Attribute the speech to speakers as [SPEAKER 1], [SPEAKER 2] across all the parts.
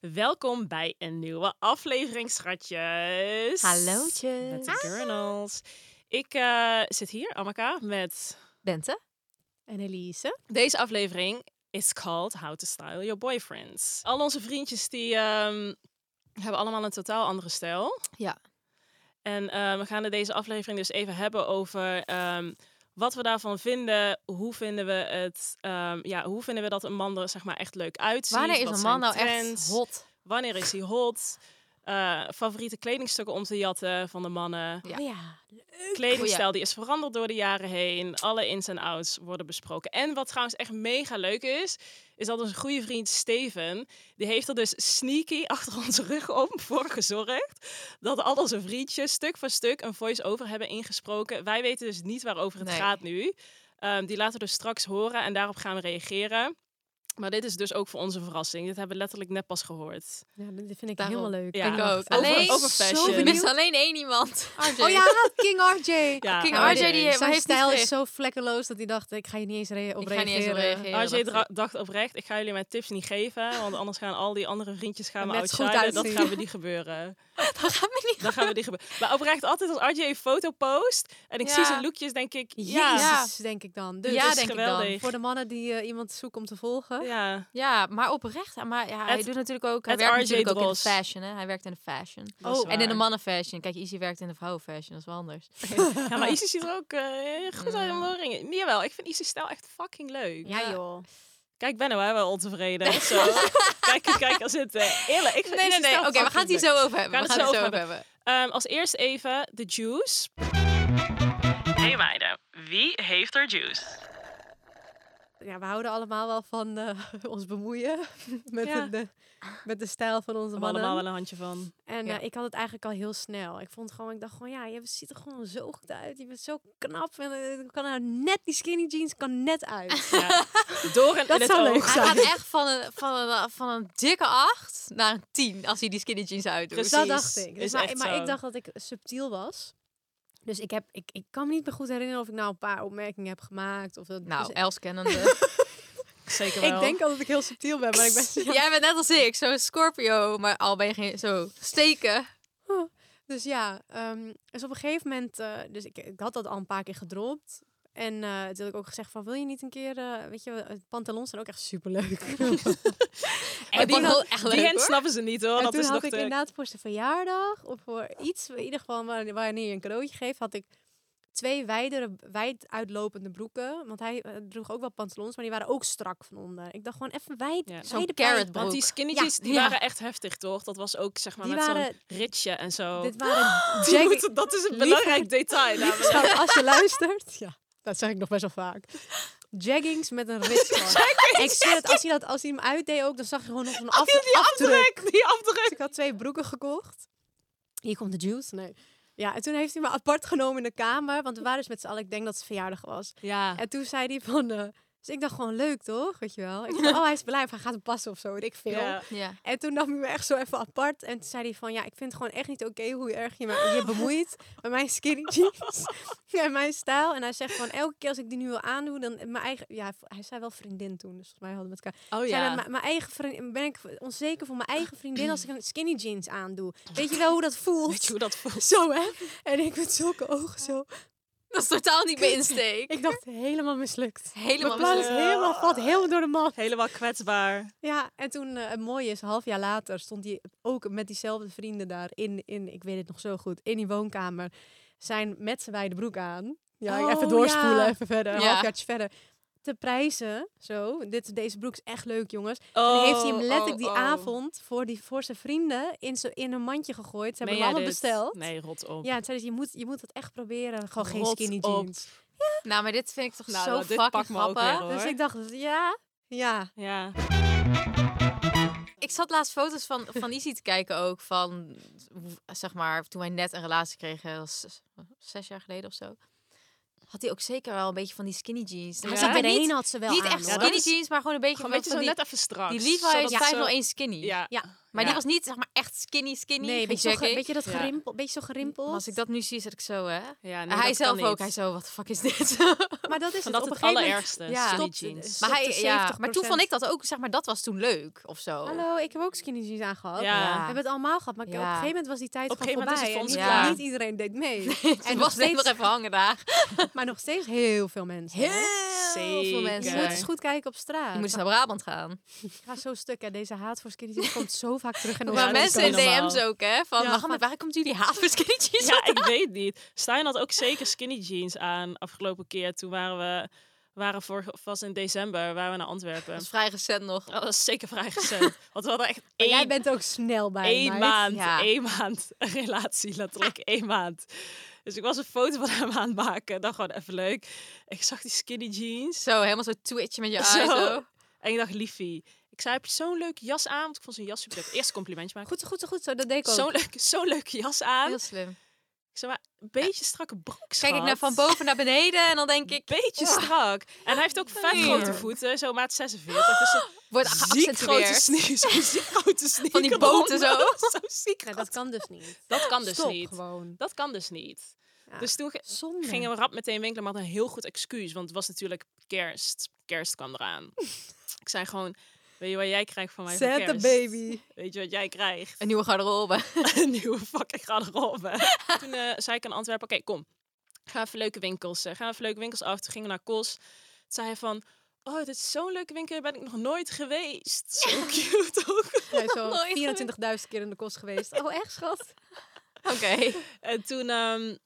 [SPEAKER 1] Welkom bij een nieuwe aflevering, schatjes. Met
[SPEAKER 2] Ah,
[SPEAKER 1] de Journals. Ik eh, zit hier, Amaka, met...
[SPEAKER 2] Bente?
[SPEAKER 3] En Elise?
[SPEAKER 1] Deze aflevering is called How to Style Your Boyfriends. Al onze vriendjes die ehm, hebben allemaal een totaal andere stijl.
[SPEAKER 3] Ja.
[SPEAKER 1] En eh, we gaan in deze aflevering dus even hebben over ehm, wat we daarvan vinden. Hoe vinden we het? ehm, ja, hoe vinden we dat een man er zeg maar echt leuk uitziet?
[SPEAKER 3] Wanneer is
[SPEAKER 1] Wat
[SPEAKER 3] een
[SPEAKER 1] zijn
[SPEAKER 3] man nou
[SPEAKER 1] trends?
[SPEAKER 3] echt hot?
[SPEAKER 1] Wanneer is hij hot? Eh, favoriete kledingstukken om te jatten van de mannen.
[SPEAKER 2] Oh
[SPEAKER 3] Ja.
[SPEAKER 1] Kledingstijl die is veranderd door de jaren heen. Alle ins en outs worden besproken. En wat trouwens echt mega leuk is, is dat onze goede vriend Steven, die heeft er dus sneaky achter onze rug om voor gezorgd dat al onze vriendjes stuk voor stuk een voice-over hebben ingesproken. Wij weten dus niet waarover het
[SPEAKER 3] Nee.
[SPEAKER 1] gaat nu. Ehm, die laten we dus straks horen en daarop gaan we reageren. Maar dit is dus ook voor onze verrassing. Dit hebben we letterlijk net pas gehoord.
[SPEAKER 3] Ja, dit vind ik
[SPEAKER 2] Daarom.
[SPEAKER 3] helemaal leuk.
[SPEAKER 1] Ja.
[SPEAKER 3] Ik ook.
[SPEAKER 1] Over-
[SPEAKER 3] Alleen,
[SPEAKER 1] over fashion.
[SPEAKER 3] zo benieuwd. alleen één iemand.
[SPEAKER 2] RJ.
[SPEAKER 3] Oh ja, King RJ.
[SPEAKER 1] Ja,
[SPEAKER 2] King
[SPEAKER 3] Maar
[SPEAKER 2] RJ die
[SPEAKER 3] die-
[SPEAKER 2] heeft
[SPEAKER 3] zijn
[SPEAKER 2] niet
[SPEAKER 3] stijl is
[SPEAKER 2] gericht.
[SPEAKER 3] zo vlekkeloos dat hij dacht, ik ga hier niet eens re- op
[SPEAKER 2] Ik ga
[SPEAKER 3] reageren.
[SPEAKER 2] niet eens op reageren.
[SPEAKER 1] Nou, Als je
[SPEAKER 2] dat-
[SPEAKER 1] dra- dacht oprecht, ik ga jullie mijn tips niet geven, want anders gaan al die andere vriendjes gaan me
[SPEAKER 3] Net zo goed
[SPEAKER 1] outshinen. Dat
[SPEAKER 3] uitzien.
[SPEAKER 1] gaan we niet gebeuren.
[SPEAKER 3] Dat gaat me niet
[SPEAKER 1] Dat gaan we niet gebeuren. Maar oprecht altijd als RJ een foto post en ik
[SPEAKER 2] Ja.
[SPEAKER 1] zie zijn lookjes, denk ik, ja,
[SPEAKER 2] Jezus.
[SPEAKER 3] Jezus, denk ik dan. Dus
[SPEAKER 2] Ja,
[SPEAKER 1] dat is
[SPEAKER 2] denk ik dan.
[SPEAKER 1] geweldig.
[SPEAKER 3] voor de mannen die eh, iemand zoeken om te volgen.
[SPEAKER 1] Ja,
[SPEAKER 2] Ja, maar oprecht. Maar ja, hij
[SPEAKER 1] Het-
[SPEAKER 2] doet natuurlijk ook. Hij
[SPEAKER 1] het
[SPEAKER 2] werkt
[SPEAKER 1] RJ
[SPEAKER 2] natuurlijk ook in de
[SPEAKER 1] Dros.
[SPEAKER 2] fashion. Hè? Hij werkt in de fashion.
[SPEAKER 1] dat is
[SPEAKER 3] Oh,
[SPEAKER 2] En in de
[SPEAKER 1] waar.
[SPEAKER 2] mannenfashion. Kijk, Izzy werkt in de vrouwenfashion. Dat is wel anders.
[SPEAKER 1] Ja, maar Isis ziet er ook eh, goed uit
[SPEAKER 2] Mm.
[SPEAKER 1] om de ringen. Nee, Jawel, ik vind Isis stijl echt fucking leuk.
[SPEAKER 3] Ja, joh.
[SPEAKER 1] Kijk, Benno, hè, wel ontevreden. Zo. kijk, kijk, daar zitten. Eerlijk, ik vind
[SPEAKER 2] Nee, nee,
[SPEAKER 1] Isis
[SPEAKER 2] nee.
[SPEAKER 1] stijl
[SPEAKER 2] Oké, we
[SPEAKER 1] fucking
[SPEAKER 2] gaan het hier
[SPEAKER 1] leuk.
[SPEAKER 2] zo over hebben.
[SPEAKER 1] Gaan
[SPEAKER 2] We
[SPEAKER 1] het
[SPEAKER 2] gaan het
[SPEAKER 1] zo
[SPEAKER 2] zo
[SPEAKER 1] over
[SPEAKER 2] over hebben.
[SPEAKER 1] Ehm, als eerst even de juice. Hey meiden, wie heeft er juice?
[SPEAKER 3] Ja, we houden allemaal wel van eh, ons bemoeien met,
[SPEAKER 1] Ja.
[SPEAKER 3] de, met de stijl van onze
[SPEAKER 1] We hebben
[SPEAKER 3] mannen.
[SPEAKER 1] allemaal wel een handje van.
[SPEAKER 3] En
[SPEAKER 2] Ja.
[SPEAKER 3] eh, ik had het eigenlijk al heel snel. Ik vond gewoon, ik dacht gewoon, ja, je ziet er gewoon zo goed uit. Je bent zo knap. En eh, kan nou net die skinny jeans kan net uit.
[SPEAKER 1] Ja. Door en
[SPEAKER 3] Dat
[SPEAKER 1] in het
[SPEAKER 3] zou leuk
[SPEAKER 1] oog.
[SPEAKER 2] Hij gaat echt van een, van, een, van een dikke acht naar een tien als hij die skinny jeans uitdoet.
[SPEAKER 1] Precies.
[SPEAKER 3] dat dacht ik. Dus
[SPEAKER 1] Is
[SPEAKER 3] maar
[SPEAKER 1] echt
[SPEAKER 3] maar
[SPEAKER 1] zo.
[SPEAKER 3] ik dacht dat ik subtiel was. Dus ik, heb, ik, ik kan me niet meer goed herinneren of ik nou een paar opmerkingen heb gemaakt. Of dat,
[SPEAKER 2] Nou,
[SPEAKER 3] dus
[SPEAKER 2] Els kennende.
[SPEAKER 1] Zeker wel.
[SPEAKER 3] ik denk al dat ik heel subtiel ben, maar ik ben...
[SPEAKER 2] Jij bent net als ik, zo'n Scorpio, maar al ben je geen zo steken.
[SPEAKER 3] Dus ja, ehm, dus op een gegeven moment, eh, dus ik, ik had dat al een paar keer gedropt. En eh, toen had ik ook gezegd van, wil je niet een keer, eh, weet je, eh, pantalons zijn ook echt superleuk.
[SPEAKER 2] En
[SPEAKER 1] die-
[SPEAKER 2] wel echt
[SPEAKER 1] Die
[SPEAKER 2] leuk
[SPEAKER 1] hen
[SPEAKER 2] hoor.
[SPEAKER 1] snappen ze niet hoor.
[SPEAKER 3] en
[SPEAKER 1] Dat
[SPEAKER 3] toen
[SPEAKER 1] is
[SPEAKER 3] had
[SPEAKER 1] nog
[SPEAKER 3] ik
[SPEAKER 1] te-
[SPEAKER 3] inderdaad voor zijn verjaardag, of voor iets, in ieder geval wa- wanneer je een cadeautje geeft, had ik twee wijdere, wijd uitlopende broeken. Want hij eh, droeg ook wel pantalons, maar die waren ook strak van onder. Ik dacht gewoon even wijd,
[SPEAKER 1] Ja.
[SPEAKER 2] Zo'n
[SPEAKER 3] wijde
[SPEAKER 2] carrot
[SPEAKER 3] pijp.
[SPEAKER 1] Want die
[SPEAKER 2] broek.
[SPEAKER 1] skinny
[SPEAKER 3] Ja,
[SPEAKER 1] jeans, die
[SPEAKER 2] ja.
[SPEAKER 1] waren echt heftig toch? Dat was ook zeg maar
[SPEAKER 3] Die
[SPEAKER 1] met
[SPEAKER 3] waren-
[SPEAKER 1] zo'n ritje en zo.
[SPEAKER 3] Dit waren
[SPEAKER 1] Die
[SPEAKER 3] jack-
[SPEAKER 1] moeten- dat is een
[SPEAKER 3] Lieve-
[SPEAKER 1] belangrijk detail.
[SPEAKER 3] Lieve
[SPEAKER 1] namelijk.
[SPEAKER 3] schat, als je luistert. Ja, dat zeg ik nog best wel vaak. Jaggings met een ritskas. ik zweer het, als hij, dat, als hij hem uitdeed ook, dan zag je gewoon nog een af,
[SPEAKER 1] Die
[SPEAKER 3] afdruk.
[SPEAKER 1] afdruk, die afdruk.
[SPEAKER 3] Dus ik had twee broeken gekocht. Hier komt de juice. Nee. Ja, en toen heeft hij me apart genomen in de kamer. Want we waren dus met z'n allen, ik denk dat het verjaardag was.
[SPEAKER 1] Ja.
[SPEAKER 3] En toen zei hij van, eh, Dus ik dacht gewoon leuk toch, weet je wel. Ik dacht, oh hij is blij of hij gaat hem passen of zo, weet ik veel.
[SPEAKER 1] Ja.
[SPEAKER 2] Ja.
[SPEAKER 3] En toen nam hij me echt zo even apart. En toen zei hij van, ja, ik vind het gewoon echt niet oké hoe erg je me je bemoeit met mijn skinny jeans. en mijn stijl. En hij zegt gewoon, elke keer als ik die nu wil aandoen, dan mijn eigen... Ja, hij zei wel vriendin toen, dus volgens mij hadden we het elkaar.
[SPEAKER 1] Oh
[SPEAKER 3] Zei
[SPEAKER 1] ja.
[SPEAKER 3] dan, "Mijn- mijn eigen vriendin, ben ik onzeker voor mijn eigen vriendin als ik een skinny jeans aandoe. Weet je wel hoe dat
[SPEAKER 1] Weet
[SPEAKER 3] voelt?
[SPEAKER 1] je hoe dat voelt?
[SPEAKER 3] Zo hè? En ik met zulke ogen zo.
[SPEAKER 2] Dat is totaal niet mijn insteek.
[SPEAKER 3] Ik dacht, helemaal mislukt.
[SPEAKER 2] Helemaal
[SPEAKER 3] Mijn plan is
[SPEAKER 2] mislukt.
[SPEAKER 3] helemaal, valt helemaal door de man.
[SPEAKER 1] Helemaal kwetsbaar.
[SPEAKER 3] Ja, en toen, eh, het mooie is, een half jaar later stond hij ook met diezelfde vrienden daar in, in, ik weet het nog zo goed, in die woonkamer. Zijn met z'n beide broek aan. Ja,
[SPEAKER 1] Oh,
[SPEAKER 3] even doorspoelen,
[SPEAKER 1] ja.
[SPEAKER 3] even verder, een
[SPEAKER 2] Ja.
[SPEAKER 3] halfjaartje verder. Te prijzen, zo. Dit, deze broek is echt leuk, jongens.
[SPEAKER 1] Oh,
[SPEAKER 3] en heeft hij hem letterlijk die
[SPEAKER 2] oh, oh.
[SPEAKER 3] avond voor, die, voor zijn vrienden in, zo, in een mandje gegooid. Ze
[SPEAKER 1] Meen
[SPEAKER 3] hebben
[SPEAKER 1] jij
[SPEAKER 3] hem allemaal
[SPEAKER 1] dit?
[SPEAKER 3] besteld.
[SPEAKER 1] Nee, rot op.
[SPEAKER 3] Ja, en zeiden ze, je moet, je moet het echt proberen. Gewoon geen
[SPEAKER 1] Rot
[SPEAKER 3] skinny
[SPEAKER 1] op.
[SPEAKER 3] jeans.
[SPEAKER 2] Nou, maar dit vind ik toch
[SPEAKER 1] Nou,
[SPEAKER 2] zo
[SPEAKER 1] nou, dit
[SPEAKER 2] fucking
[SPEAKER 1] pakt me ook
[SPEAKER 2] grappig.
[SPEAKER 1] weer, hoor.
[SPEAKER 3] Dus ik dacht, ja, ja.
[SPEAKER 1] Ja.
[SPEAKER 2] Ik zat laatst foto's van, van Izzy te kijken ook. Van, hoe- zeg maar, toen wij net een relatie kregen. dat was zes- zes jaar geleden of zo. Had hij ook zeker wel een beetje van die skinny jeans. Maar
[SPEAKER 1] Ja.
[SPEAKER 2] zeg maar
[SPEAKER 3] Iedereen
[SPEAKER 2] niet,
[SPEAKER 3] Dus had ze wel
[SPEAKER 2] niet
[SPEAKER 3] aan,
[SPEAKER 2] echt
[SPEAKER 3] hoor.
[SPEAKER 1] dat
[SPEAKER 2] skinny
[SPEAKER 1] is-
[SPEAKER 2] jeans, maar gewoon een beetje
[SPEAKER 1] Gewoon
[SPEAKER 2] van
[SPEAKER 1] weet je zo
[SPEAKER 2] die,
[SPEAKER 1] net even straks.
[SPEAKER 2] die Levi's
[SPEAKER 1] zodat ze-
[SPEAKER 2] 501 skinny.
[SPEAKER 1] Ja.
[SPEAKER 3] Ja.
[SPEAKER 2] Maar
[SPEAKER 1] Ja.
[SPEAKER 2] die was niet zeg maar echt skinny skinny.
[SPEAKER 3] Nee,
[SPEAKER 2] geen
[SPEAKER 3] weet je, zo, ge-
[SPEAKER 2] jackie.
[SPEAKER 3] weet je dat
[SPEAKER 1] Ja.
[SPEAKER 3] gerimpel, beetje zo gerimpeld?
[SPEAKER 2] Als ik dat nu zie, zit ik zo, hè.
[SPEAKER 1] Ja, nee,
[SPEAKER 2] En hij
[SPEAKER 1] dat kan
[SPEAKER 2] zelf ook.
[SPEAKER 1] niet.
[SPEAKER 2] Hij zo, wat de fuck is dit?
[SPEAKER 3] maar dat is
[SPEAKER 1] Van
[SPEAKER 3] het.
[SPEAKER 1] dat het
[SPEAKER 3] op een gegeven moment
[SPEAKER 1] allerergste.
[SPEAKER 2] ja.
[SPEAKER 1] Skinny
[SPEAKER 3] stopt
[SPEAKER 1] jeans.
[SPEAKER 3] het.
[SPEAKER 2] maar, hij,
[SPEAKER 3] tot
[SPEAKER 2] ja, maar toen
[SPEAKER 3] 70%.
[SPEAKER 2] vond ik dat ook, zeg maar, dat was toen leuk of zo.
[SPEAKER 3] Hallo, ik heb ook skinny jeans aangehad.
[SPEAKER 1] Ja.
[SPEAKER 3] We hebben het allemaal gehad, maar
[SPEAKER 2] Ja.
[SPEAKER 3] op een gegeven moment was die tijd
[SPEAKER 1] Op een
[SPEAKER 3] gewoon
[SPEAKER 1] gegeven moment is
[SPEAKER 3] voorbij.
[SPEAKER 1] het
[SPEAKER 3] en
[SPEAKER 2] voor ons
[SPEAKER 3] niet,
[SPEAKER 2] klaar.
[SPEAKER 3] niet iedereen deed mee.
[SPEAKER 2] en
[SPEAKER 3] en
[SPEAKER 2] was
[SPEAKER 3] nog
[SPEAKER 2] steeds... nog
[SPEAKER 3] steeds,
[SPEAKER 2] even hangen daar.
[SPEAKER 3] maar nog steeds heel veel mensen. hè?
[SPEAKER 2] Heel veel
[SPEAKER 1] Zeker.
[SPEAKER 3] Je
[SPEAKER 2] mensen.
[SPEAKER 3] moet eens goed kijken op straat.
[SPEAKER 2] Je moet eens naar Brabant gaan.
[SPEAKER 3] Ik ga zo stuk. Hè. Deze haat voor skinny jeans komt zo vaak terug in
[SPEAKER 1] Ja,
[SPEAKER 3] onze
[SPEAKER 2] maar
[SPEAKER 1] dat is
[SPEAKER 2] mensen in
[SPEAKER 1] niet normaal.
[SPEAKER 2] DM's ook, hè? Van,
[SPEAKER 3] Ja,
[SPEAKER 2] wacht, maar
[SPEAKER 3] maar-
[SPEAKER 2] waar komt jullie haat voor skinny jeans?
[SPEAKER 1] Ja, ik weet niet. Stijn had ook zeker skinny jeans aan afgelopen keer. Toen waren we, waren vorig, was in december, waren we naar Antwerpen. Oh,
[SPEAKER 2] Dat is vrij recent nog.
[SPEAKER 1] Dat was zeker vrijgezet. Want we hadden echt
[SPEAKER 3] Maar Jij
[SPEAKER 1] één,
[SPEAKER 3] bent ook snel bij,
[SPEAKER 1] één
[SPEAKER 3] meid.
[SPEAKER 1] maand,
[SPEAKER 2] Ja.
[SPEAKER 1] één maand een relatie. Letterlijk één maand. Dus ik was een foto van hem aan het maken. Dan gewoon even leuk. Ik zag die skinny jeans.
[SPEAKER 2] Zo, helemaal zo twitchen met je
[SPEAKER 1] Zo.
[SPEAKER 2] eyes. Zo.
[SPEAKER 1] En ik dacht, liefie. Ik zei, heb je zo'n leuke jas aan? Want ik vond zo'n jas super leuk. Eerst een complimentje maken.
[SPEAKER 3] Goed zo, goed zo, goed zo. Dat deed ik ook.
[SPEAKER 1] Zo'n leuke, zo'n leuke jas aan.
[SPEAKER 2] Heel
[SPEAKER 1] Ik
[SPEAKER 2] slim.
[SPEAKER 1] zei, maar een beetje strakke broek,
[SPEAKER 2] Kijk ik
[SPEAKER 1] schat.
[SPEAKER 2] naar van boven naar beneden en dan denk ik,
[SPEAKER 1] beetje strak. En hij heeft ook vet
[SPEAKER 2] Nee.
[SPEAKER 1] grote voeten, zo maat 46. Dus een
[SPEAKER 2] wordt
[SPEAKER 1] ziek grote
[SPEAKER 2] geaccentueerd.
[SPEAKER 1] sneeuws. Ziek grote sneeuw.
[SPEAKER 2] Van die boten zo.
[SPEAKER 1] zo ziek.
[SPEAKER 3] Nee, dat kan dus niet.
[SPEAKER 1] Dat kan dus
[SPEAKER 3] Stop
[SPEAKER 1] niet.
[SPEAKER 3] gewoon.
[SPEAKER 1] Dat kan dus niet.
[SPEAKER 3] Ja.
[SPEAKER 1] Dus toen ge-
[SPEAKER 3] Zonde.
[SPEAKER 1] gingen we rap meteen winkelen, maar had een heel goed excuus. Want het was natuurlijk kerst. Kerst kwam eraan. Ik zei gewoon, weet je wat jij krijgt van mij voor
[SPEAKER 3] Santa
[SPEAKER 1] kerst?
[SPEAKER 3] baby.
[SPEAKER 1] Weet je wat jij krijgt?
[SPEAKER 2] Een nieuwe garderobe.
[SPEAKER 1] een nieuwe fucking garderobe. Toen eh, zei ik aan Antwerpen, oké, kom. Ga even leuke winkels. eh, ga even leuke winkels af. Toen gingen we naar Kos. Toen zei hij van, oh, dit is zo'n leuke winkel. Daar ben ik nog nooit geweest. Zo cute ook.
[SPEAKER 3] Hij is al
[SPEAKER 2] Nooit
[SPEAKER 3] 24.000 keer in de kost geweest. Oh, echt, schat?
[SPEAKER 2] Oké.
[SPEAKER 1] En toen ehm,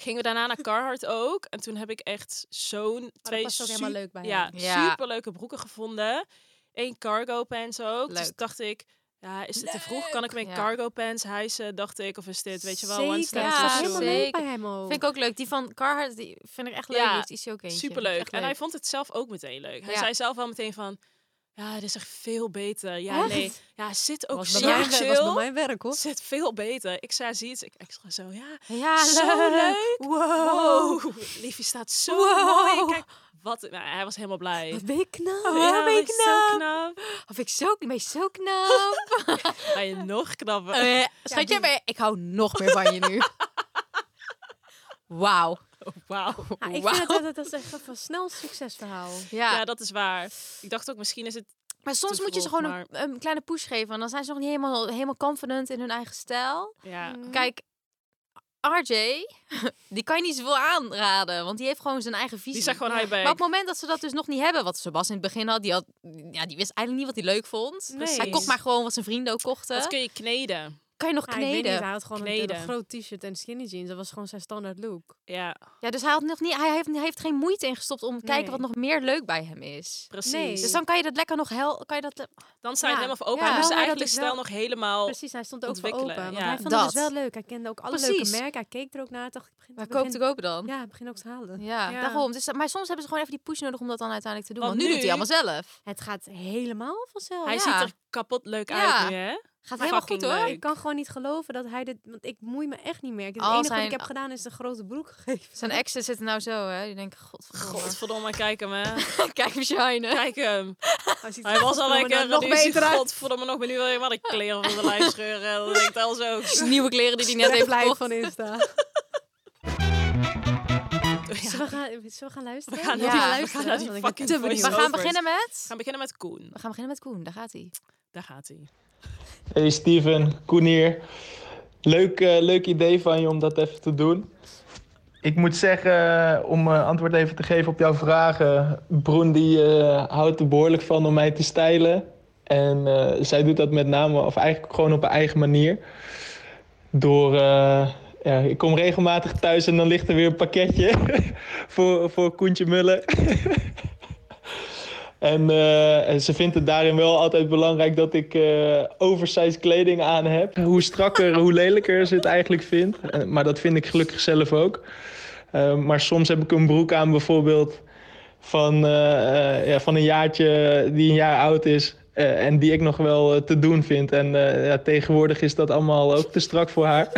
[SPEAKER 1] gingen we daarna naar Carhartt ook. En toen heb ik echt zo'n twee
[SPEAKER 3] past ook helemaal
[SPEAKER 1] su-
[SPEAKER 3] leuk bij
[SPEAKER 1] ja,
[SPEAKER 3] hem.
[SPEAKER 2] Ja.
[SPEAKER 1] superleuke broeken gevonden. Eén cargo pants ook. Dus
[SPEAKER 2] Leuk.
[SPEAKER 1] dacht ik, ja, is dit te vroeg? Kan ik mijn
[SPEAKER 2] Ja.
[SPEAKER 1] cargo pants hijsen? Dacht ik, of is dit, weet je wel,
[SPEAKER 3] Zeker,
[SPEAKER 1] one step
[SPEAKER 3] het
[SPEAKER 2] ja,
[SPEAKER 3] was
[SPEAKER 1] too
[SPEAKER 3] helemaal
[SPEAKER 1] soon?
[SPEAKER 3] leuk
[SPEAKER 2] zeker.
[SPEAKER 3] bij hem ook.
[SPEAKER 2] Vind ik ook leuk. Die van Carhartt, die vind ik echt leuk.
[SPEAKER 1] Ja,
[SPEAKER 2] Die heeft Izzy ook eentje.
[SPEAKER 1] Superleuk.
[SPEAKER 2] Echt
[SPEAKER 1] En hij vond het zelf ook meteen leuk. Hij
[SPEAKER 2] Ja.
[SPEAKER 1] zei zelf wel meteen van, ja, dit is echt veel beter. Ja,
[SPEAKER 3] Echt?
[SPEAKER 1] nee. Ja, zit ook
[SPEAKER 3] was,
[SPEAKER 1] zo
[SPEAKER 3] bij mijn, werk- was bij
[SPEAKER 1] chill.
[SPEAKER 3] mijn werk, hoor.
[SPEAKER 1] Zit veel beter. Ik zei, zie het. Ik, ik zag zo, ja,
[SPEAKER 2] Ja,
[SPEAKER 1] zo
[SPEAKER 2] leuk.
[SPEAKER 1] leuk.
[SPEAKER 3] Wow.
[SPEAKER 1] Wow. Liefie staat zo
[SPEAKER 2] Wow.
[SPEAKER 1] mooi. Kijk, wat, nou, hij was helemaal blij.
[SPEAKER 3] Wat ben ik knap.
[SPEAKER 1] ja,
[SPEAKER 2] ben je
[SPEAKER 1] was Zo knap.
[SPEAKER 2] Of ik zo, ben je zo knap.
[SPEAKER 1] Ben je nog knapper.
[SPEAKER 2] Eh, Schat, jij bent- ik hou nog meer van je nu. Wauw.
[SPEAKER 1] Wauw.
[SPEAKER 3] Ja, ik
[SPEAKER 2] Wauw.
[SPEAKER 3] vind dat, dat, dat is echt een snel succesverhaal.
[SPEAKER 2] Ja.
[SPEAKER 1] Ja, dat is waar. Ik dacht ook, misschien is het...
[SPEAKER 2] maar soms
[SPEAKER 1] te
[SPEAKER 2] moet je ze
[SPEAKER 1] vroeg,
[SPEAKER 2] gewoon een, een kleine push geven. En dan zijn ze nog niet helemaal, helemaal confident in hun eigen stijl.
[SPEAKER 1] Ja,
[SPEAKER 2] Kijk, RJ, die kan je niet zoveel aanraden. Want die heeft gewoon zijn eigen visie.
[SPEAKER 1] die zag gewoon hij bij.
[SPEAKER 2] Maar op het moment dat ze dat dus nog niet hebben, wat Sebas in het begin had, die, had, ja, die wist eigenlijk niet wat hij leuk vond.
[SPEAKER 3] Nee.
[SPEAKER 2] Hij kocht maar gewoon wat zijn vrienden ook kochten.
[SPEAKER 1] Dat kun je kneden.
[SPEAKER 2] Kan je nog
[SPEAKER 3] Ja, ik weet niet,
[SPEAKER 2] kneden?
[SPEAKER 3] hij had gewoon een- een,
[SPEAKER 1] Kneden.
[SPEAKER 3] groot t-shirt en skinny jeans. Dat was gewoon zijn standaard look.
[SPEAKER 1] Ja,
[SPEAKER 2] Ja, dus hij, had nog niet, hij, heeft, hij heeft geen moeite ingestopt om te kijken
[SPEAKER 3] Nee.
[SPEAKER 2] wat nog meer leuk bij hem is.
[SPEAKER 1] precies.
[SPEAKER 3] Nee.
[SPEAKER 2] Dus dan kan je dat lekker nog hel... Kan je dat, eh,
[SPEAKER 1] Dan sta je
[SPEAKER 3] Ja.
[SPEAKER 1] helemaal voor open.
[SPEAKER 2] Ja.
[SPEAKER 1] Hij moest
[SPEAKER 3] Wel, maar dat
[SPEAKER 1] eigenlijk
[SPEAKER 3] is
[SPEAKER 1] stel
[SPEAKER 3] wel-
[SPEAKER 1] nog helemaal...
[SPEAKER 3] Precies, hij stond er ook voor
[SPEAKER 1] Ontwikkelen,
[SPEAKER 3] open. Want
[SPEAKER 1] ja.
[SPEAKER 3] hij vond
[SPEAKER 2] Dat.
[SPEAKER 3] het dus wel leuk. Hij kende ook alle
[SPEAKER 2] Precies.
[SPEAKER 3] leuke merken. Hij keek er ook naar. Hij dacht, ik begin,
[SPEAKER 2] waar
[SPEAKER 3] ik
[SPEAKER 2] koopt
[SPEAKER 3] begin,
[SPEAKER 2] ik ook dan?
[SPEAKER 3] Ja, ik begin ook te halen.
[SPEAKER 2] Ja,
[SPEAKER 1] Ja.
[SPEAKER 2] daarom. Dus, maar soms hebben ze gewoon even die push nodig om dat dan uiteindelijk te doen.
[SPEAKER 1] Want
[SPEAKER 2] Want, nu doet hij
[SPEAKER 1] nu-
[SPEAKER 2] allemaal zelf.
[SPEAKER 3] Het gaat helemaal vanzelf.
[SPEAKER 1] Hij
[SPEAKER 2] Ja.
[SPEAKER 1] ziet er kapot leuk
[SPEAKER 2] Ja.
[SPEAKER 1] uit nu, hè?
[SPEAKER 2] Gaat
[SPEAKER 1] Maar
[SPEAKER 2] helemaal goed
[SPEAKER 1] fucking
[SPEAKER 2] hoor.
[SPEAKER 1] leuk.
[SPEAKER 3] Ik kan gewoon niet geloven dat hij dit... Want ik moei me echt niet meer. Het
[SPEAKER 2] Al
[SPEAKER 3] enige wat
[SPEAKER 2] zijn-
[SPEAKER 3] ik heb gedaan is een grote broek gegeven.
[SPEAKER 2] Zijn exen zitten nou zo, hè? Die denken, godverdomme.
[SPEAKER 1] Godverdomme, kijk hem, hè.
[SPEAKER 2] Kijk hem shinen.
[SPEAKER 1] Kijk hem.
[SPEAKER 3] Hij, ziet er
[SPEAKER 1] Hij was al
[SPEAKER 3] godverdomme
[SPEAKER 1] lekker.
[SPEAKER 3] nog beter uit.
[SPEAKER 1] Godverdomme, nog benieuwd. Helemaal de kleren van de lijf scheuren. Dat denkt Els ook.
[SPEAKER 2] Nieuwe kleren die hij net
[SPEAKER 3] Echt
[SPEAKER 2] heeft
[SPEAKER 3] blij
[SPEAKER 2] gekocht.
[SPEAKER 3] van Insta. Zullen, we gaan, zullen we gaan luisteren?
[SPEAKER 1] We gaan
[SPEAKER 2] Ja,
[SPEAKER 1] naar die- we
[SPEAKER 2] luisteren,
[SPEAKER 1] gaan naar die
[SPEAKER 3] want ik ben
[SPEAKER 1] fucking
[SPEAKER 3] te benieuwd.
[SPEAKER 2] We gaan
[SPEAKER 1] voiceovers.
[SPEAKER 2] beginnen met...
[SPEAKER 1] We gaan beginnen met Koen.
[SPEAKER 2] We gaan beginnen met Koen, daar gaat hij.
[SPEAKER 1] Daar gaat hij.
[SPEAKER 4] Hey Steven, Koen hier. Leuk, eh, leuk idee van je om dat even te doen. Ik moet zeggen, om eh, antwoord even te geven op jouw vragen. Broen die eh, houdt er behoorlijk van om mij te stijlen. En eh, zij doet dat met name, of eigenlijk gewoon op haar eigen manier. Door, eh, ja, ik kom regelmatig thuis en dan ligt er weer een pakketje voor, voor Koentje Mullen. En eh, en ze vindt het daarin wel altijd belangrijk dat ik eh oversized kleding aan heb. Hoe strakker, hoe lelijker ze het eigenlijk vindt. Eh, maar dat vind ik gelukkig zelf ook. Eh, maar soms heb ik een broek aan bijvoorbeeld van, eh, eh, ja, van een jaartje die een jaar oud is. eh, en die ik nog wel eh, te doen vind. En eh, ja, tegenwoordig is dat allemaal ook te strak voor haar.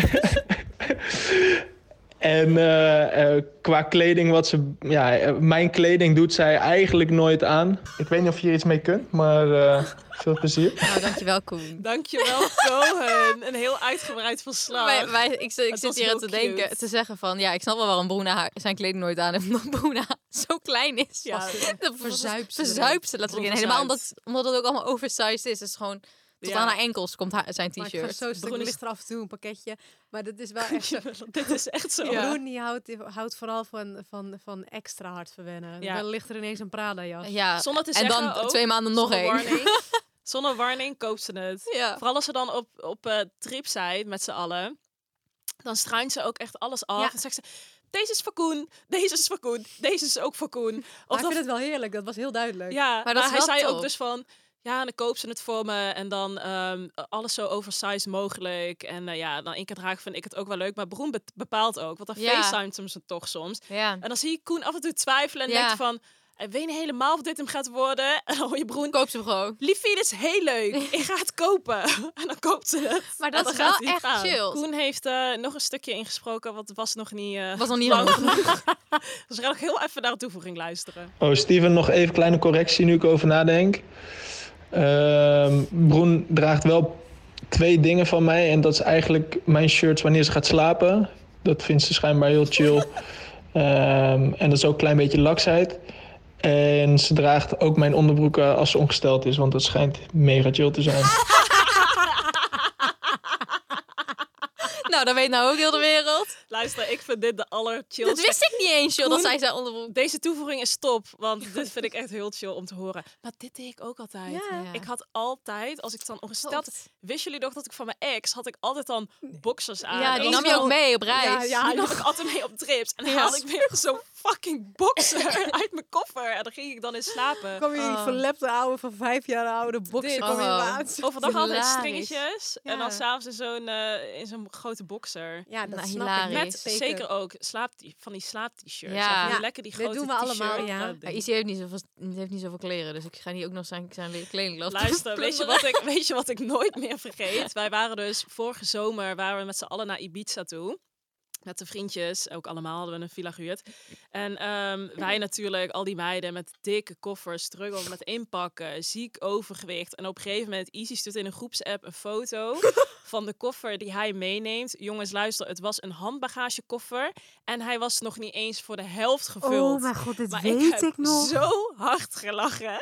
[SPEAKER 4] En eh, eh, qua kleding, wat ze, ja, eh, mijn kleding doet zij eigenlijk nooit aan. Ik weet niet of je hier iets mee kunt, maar eh, veel plezier.
[SPEAKER 2] Nou, dankjewel Koen.
[SPEAKER 1] Dankjewel, Cohen. Een heel uitgebreid verslag.
[SPEAKER 2] Wij, wij, ik zit- ik
[SPEAKER 1] Het
[SPEAKER 2] zit
[SPEAKER 1] was
[SPEAKER 2] hier aan
[SPEAKER 1] heel
[SPEAKER 2] te
[SPEAKER 1] cute.
[SPEAKER 2] denken, te zeggen van... Ja, ik snap wel waarom Bruna haar, zijn kleding nooit aan heeft. Omdat Bruna zo klein is.
[SPEAKER 1] Ja,
[SPEAKER 2] Dat
[SPEAKER 3] verzuipt ze
[SPEAKER 2] Verzuipt ze letterlijk in.
[SPEAKER 1] Bruna
[SPEAKER 2] Helemaal omdat,
[SPEAKER 1] verzuipt.
[SPEAKER 2] omdat het ook allemaal oversized is. Het is gewoon... Tot
[SPEAKER 1] Ja.
[SPEAKER 2] aan haar enkels komt haar, zijn
[SPEAKER 3] Maar ik ga
[SPEAKER 2] t-shirt.
[SPEAKER 3] zo stuk
[SPEAKER 1] Broen is-
[SPEAKER 3] lichter af en toe een pakketje. Maar dat is wel echt zo.
[SPEAKER 1] Dit is echt zo.
[SPEAKER 3] Broen die houdt, houdt vooral van, van, van extra hard verwennen.
[SPEAKER 1] Ja.
[SPEAKER 3] Dan ligt er ineens een Prada jas.
[SPEAKER 2] Ja,
[SPEAKER 1] Zonder te
[SPEAKER 2] en
[SPEAKER 1] zeggen
[SPEAKER 2] dan
[SPEAKER 1] ook,
[SPEAKER 2] twee maanden nog
[SPEAKER 1] zonder
[SPEAKER 2] één.
[SPEAKER 1] warning. Zonder warning koopt ze het.
[SPEAKER 2] Ja.
[SPEAKER 1] Vooral als ze dan op, op eh, trip zijn met z'n allen. Dan struint ze ook echt alles af.
[SPEAKER 3] Ja.
[SPEAKER 1] En zegt ze, deze is voor Koen, deze is voor Koen, deze is ook voor Koen.
[SPEAKER 3] Maar
[SPEAKER 1] Of
[SPEAKER 3] ik
[SPEAKER 1] dan,
[SPEAKER 3] vind het wel heerlijk. Dat was heel duidelijk.
[SPEAKER 1] ja, maar,
[SPEAKER 2] dat is
[SPEAKER 1] hij
[SPEAKER 2] wel
[SPEAKER 1] zei ook
[SPEAKER 2] top.
[SPEAKER 1] dus van... Ja, en dan koopt ze het voor me en dan ehm, alles zo oversized mogelijk. En eh, ja, dan één keer dragen vind ik het ook wel leuk. Maar Broen be- bepaalt ook, want dan
[SPEAKER 2] Ja.
[SPEAKER 1] facetimes hem ze toch soms.
[SPEAKER 2] Ja.
[SPEAKER 1] En dan zie ik Koen af en toe twijfelen en
[SPEAKER 2] Ja.
[SPEAKER 1] denkt van... Ik weet niet helemaal of dit hem gaat worden. En dan hoor je Broen...
[SPEAKER 2] Koop ze hem gewoon.
[SPEAKER 1] Liefie, dit is heel leuk. Ik ga het kopen. En dan koopt ze het.
[SPEAKER 2] Maar
[SPEAKER 1] En
[SPEAKER 2] dat
[SPEAKER 1] dan
[SPEAKER 2] is wel
[SPEAKER 1] gaat hij
[SPEAKER 2] echt
[SPEAKER 1] aan.
[SPEAKER 2] chill.
[SPEAKER 1] Koen heeft eh, nog een stukje ingesproken, wat was nog niet... eh
[SPEAKER 2] Was nog niet
[SPEAKER 1] lang
[SPEAKER 2] lang.
[SPEAKER 1] genoeg. dus we gaan nog heel even naar een toevoeging luisteren.
[SPEAKER 4] Oh, Steven, nog even kleine correctie nu ik over nadenk. Ehm, Broen draagt wel twee dingen van mij. En dat is eigenlijk mijn shirts wanneer ze gaat slapen. Dat vindt ze schijnbaar heel chill. Ehm, en dat is ook een klein beetje laksheid. En ze draagt ook mijn onderbroeken als ze ongesteld is. Want dat schijnt mega chill te zijn.
[SPEAKER 2] Nou, dat weet nou ook heel de wereld.
[SPEAKER 1] Luister, ik vind dit de allerchillste.
[SPEAKER 2] Dat wist ik niet eens, joh. Dat
[SPEAKER 1] Koen-
[SPEAKER 2] zij zei onderbroek.
[SPEAKER 1] Deze toevoeging is top, want dit vind ik echt heel chill om te horen. Maar dit deed ik ook altijd.
[SPEAKER 3] Ja.
[SPEAKER 2] Ja.
[SPEAKER 1] Ik had altijd, als ik dan ongesteld... Wisten jullie nog dat ik van mijn ex had ik altijd dan boxers aan?
[SPEAKER 2] Ja,
[SPEAKER 1] En
[SPEAKER 2] die
[SPEAKER 1] dat
[SPEAKER 2] nam
[SPEAKER 1] is
[SPEAKER 2] je
[SPEAKER 1] wel-
[SPEAKER 2] ook mee op reis.
[SPEAKER 1] Ja, die nam ik altijd mee op trips. En dan
[SPEAKER 2] Ja.
[SPEAKER 1] haalde ik weer zo'n fucking boxer uit mijn koffer. En dan ging ik dan in slapen.
[SPEAKER 3] Kom je in die verlepte oude van vijf jaar oude boxer
[SPEAKER 1] Dit.
[SPEAKER 3] kom je
[SPEAKER 2] Oh.
[SPEAKER 3] aan.
[SPEAKER 1] Overdag altijd in
[SPEAKER 2] Hilarisch.
[SPEAKER 1] stringetjes. En dan
[SPEAKER 3] Ja.
[SPEAKER 1] s'avonds in zo'n eh, in zo'n grote boxer.
[SPEAKER 3] Ja, dat
[SPEAKER 2] Nou,
[SPEAKER 3] snap
[SPEAKER 2] hilarisch.
[SPEAKER 3] ik.
[SPEAKER 1] Met zeker,
[SPEAKER 3] Oh,
[SPEAKER 1] ook slaap, van die slaap-t-shirts.
[SPEAKER 2] Ja.
[SPEAKER 1] Ja.
[SPEAKER 3] Ja,
[SPEAKER 1] lekker die
[SPEAKER 3] dit
[SPEAKER 1] grote
[SPEAKER 3] doen we allemaal,
[SPEAKER 1] t-shirt.
[SPEAKER 3] ja.
[SPEAKER 1] Nou, dit-
[SPEAKER 2] Maar Izzy heeft niet, zoveel, heeft niet zoveel kleren, dus ik ga niet ook nog zijn, zijn le- kledinglast
[SPEAKER 1] Luister, weet je,
[SPEAKER 2] plunderen.
[SPEAKER 1] wat ik, weet je wat ik nooit meer vergeet? Wij waren dus vorige zomer waren we met z'n allen naar Ibiza toe. Met de vriendjes, ook allemaal hadden we een villa gehuurd. En ehm, wij natuurlijk, al die meiden met dikke koffers, struggle met inpakken, ziek overgewicht. En op een gegeven moment, Izzy stuurt in een groepsapp een foto van de koffer die hij meeneemt. Jongens, luister, het was een handbagagekoffer. En hij was nog niet eens voor de helft gevuld.
[SPEAKER 3] god, dit
[SPEAKER 1] Oh, Maar ik heb zo hard gelachen.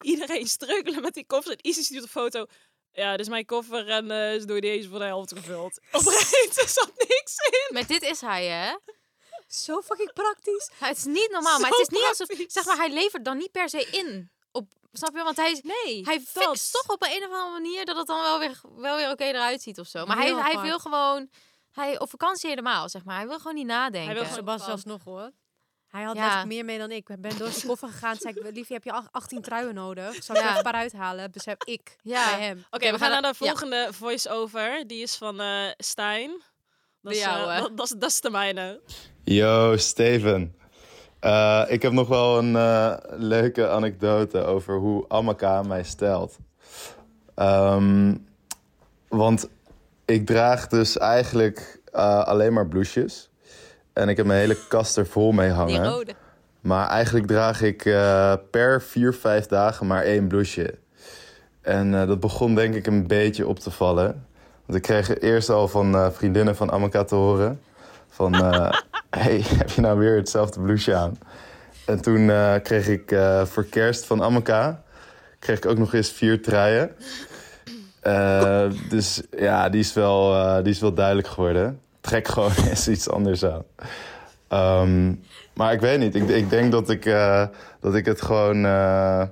[SPEAKER 1] Iedereen struikelen met die koffers. En Isis stuurt een foto. Ja, dit is mijn koffer en eh is door deze voor de helft gevuld. Oprecht, er zat niks in.
[SPEAKER 2] Maar dit is hij, hè?
[SPEAKER 3] Zo fucking praktisch.
[SPEAKER 2] Het is niet normaal,
[SPEAKER 1] Zo
[SPEAKER 2] maar het is niet alsof...
[SPEAKER 1] praktisch.
[SPEAKER 2] Zeg maar, hij levert dan niet per se in. Op, snap je? Want hij,
[SPEAKER 1] Nee,
[SPEAKER 2] hij fixt toch op een, of andere manier dat het dan wel weer, wel weer oké eruit ziet of zo. Maar hij,
[SPEAKER 3] Heel
[SPEAKER 2] hij
[SPEAKER 3] apart.
[SPEAKER 2] wil gewoon... Hij, op vakantie helemaal, zeg maar. Hij wil gewoon niet nadenken.
[SPEAKER 1] Hij wil gewoon-
[SPEAKER 3] Sebas was nog hoor. Hij had
[SPEAKER 2] Ja.
[SPEAKER 3] letterlijk meer mee dan ik. Ik ben door zijn koffer gegaan. Zei ik, liefje, heb je ach- 18 truien nodig? Zal ik
[SPEAKER 2] Ja.
[SPEAKER 3] er een paar uithalen? Besef ik
[SPEAKER 2] Ja.
[SPEAKER 3] bij hem.
[SPEAKER 1] Oké,
[SPEAKER 2] Oké,
[SPEAKER 1] we
[SPEAKER 2] we
[SPEAKER 1] gaan
[SPEAKER 2] gaan-
[SPEAKER 1] naar de
[SPEAKER 2] ja.
[SPEAKER 1] volgende voice-over. Die is van eh, Stijn. Dat
[SPEAKER 2] De
[SPEAKER 1] is, eh,
[SPEAKER 2] jouwe.
[SPEAKER 1] dat, dat, is, dat is de mijne.
[SPEAKER 5] Yo, Steven. Eh, ik heb nog wel een eh, leuke anekdote over hoe Amaka mij stelt. Ehm, Want ik draag dus eigenlijk eh, alleen maar blouses. En ik heb mijn hele kast er vol mee
[SPEAKER 2] Die
[SPEAKER 5] hangen.
[SPEAKER 2] rode.
[SPEAKER 5] Maar eigenlijk draag ik eh, per vier, vijf dagen maar één blouseje. En eh, dat begon denk ik een beetje op te vallen. Want ik kreeg eerst al van eh, vriendinnen van Amaka te horen... van, eh, hey, heb je nou weer hetzelfde blouseje aan? En toen eh, kreeg ik eh, voor kerst van Amaka... kreeg ik ook nog eens vier truien. Eh, dus ja, die is, wel, eh, die is wel duidelijk geworden. Trek gewoon eens iets anders aan. Ehm, maar ik weet niet. Ik, ik denk dat ik, eh, dat ik het gewoon eh,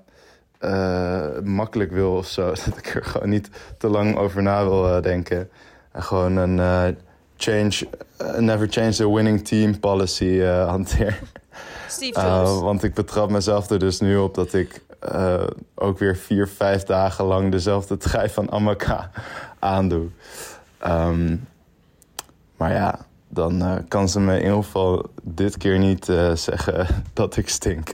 [SPEAKER 5] eh, makkelijk wil of zo. Dat ik er gewoon niet te lang over na wil eh, denken. En gewoon een eh, change, eh, never change the winning team policy eh, hanteer.
[SPEAKER 2] Steve Jobs.
[SPEAKER 5] Eh, want ik betrap mezelf er dus nu op dat ik eh, ook weer vier, vijf dagen lang dezelfde trui van Amaka aandoe. Ehm, maar ja, dan eh, kan ze me in ieder geval dit keer niet eh, zeggen dat ik stink.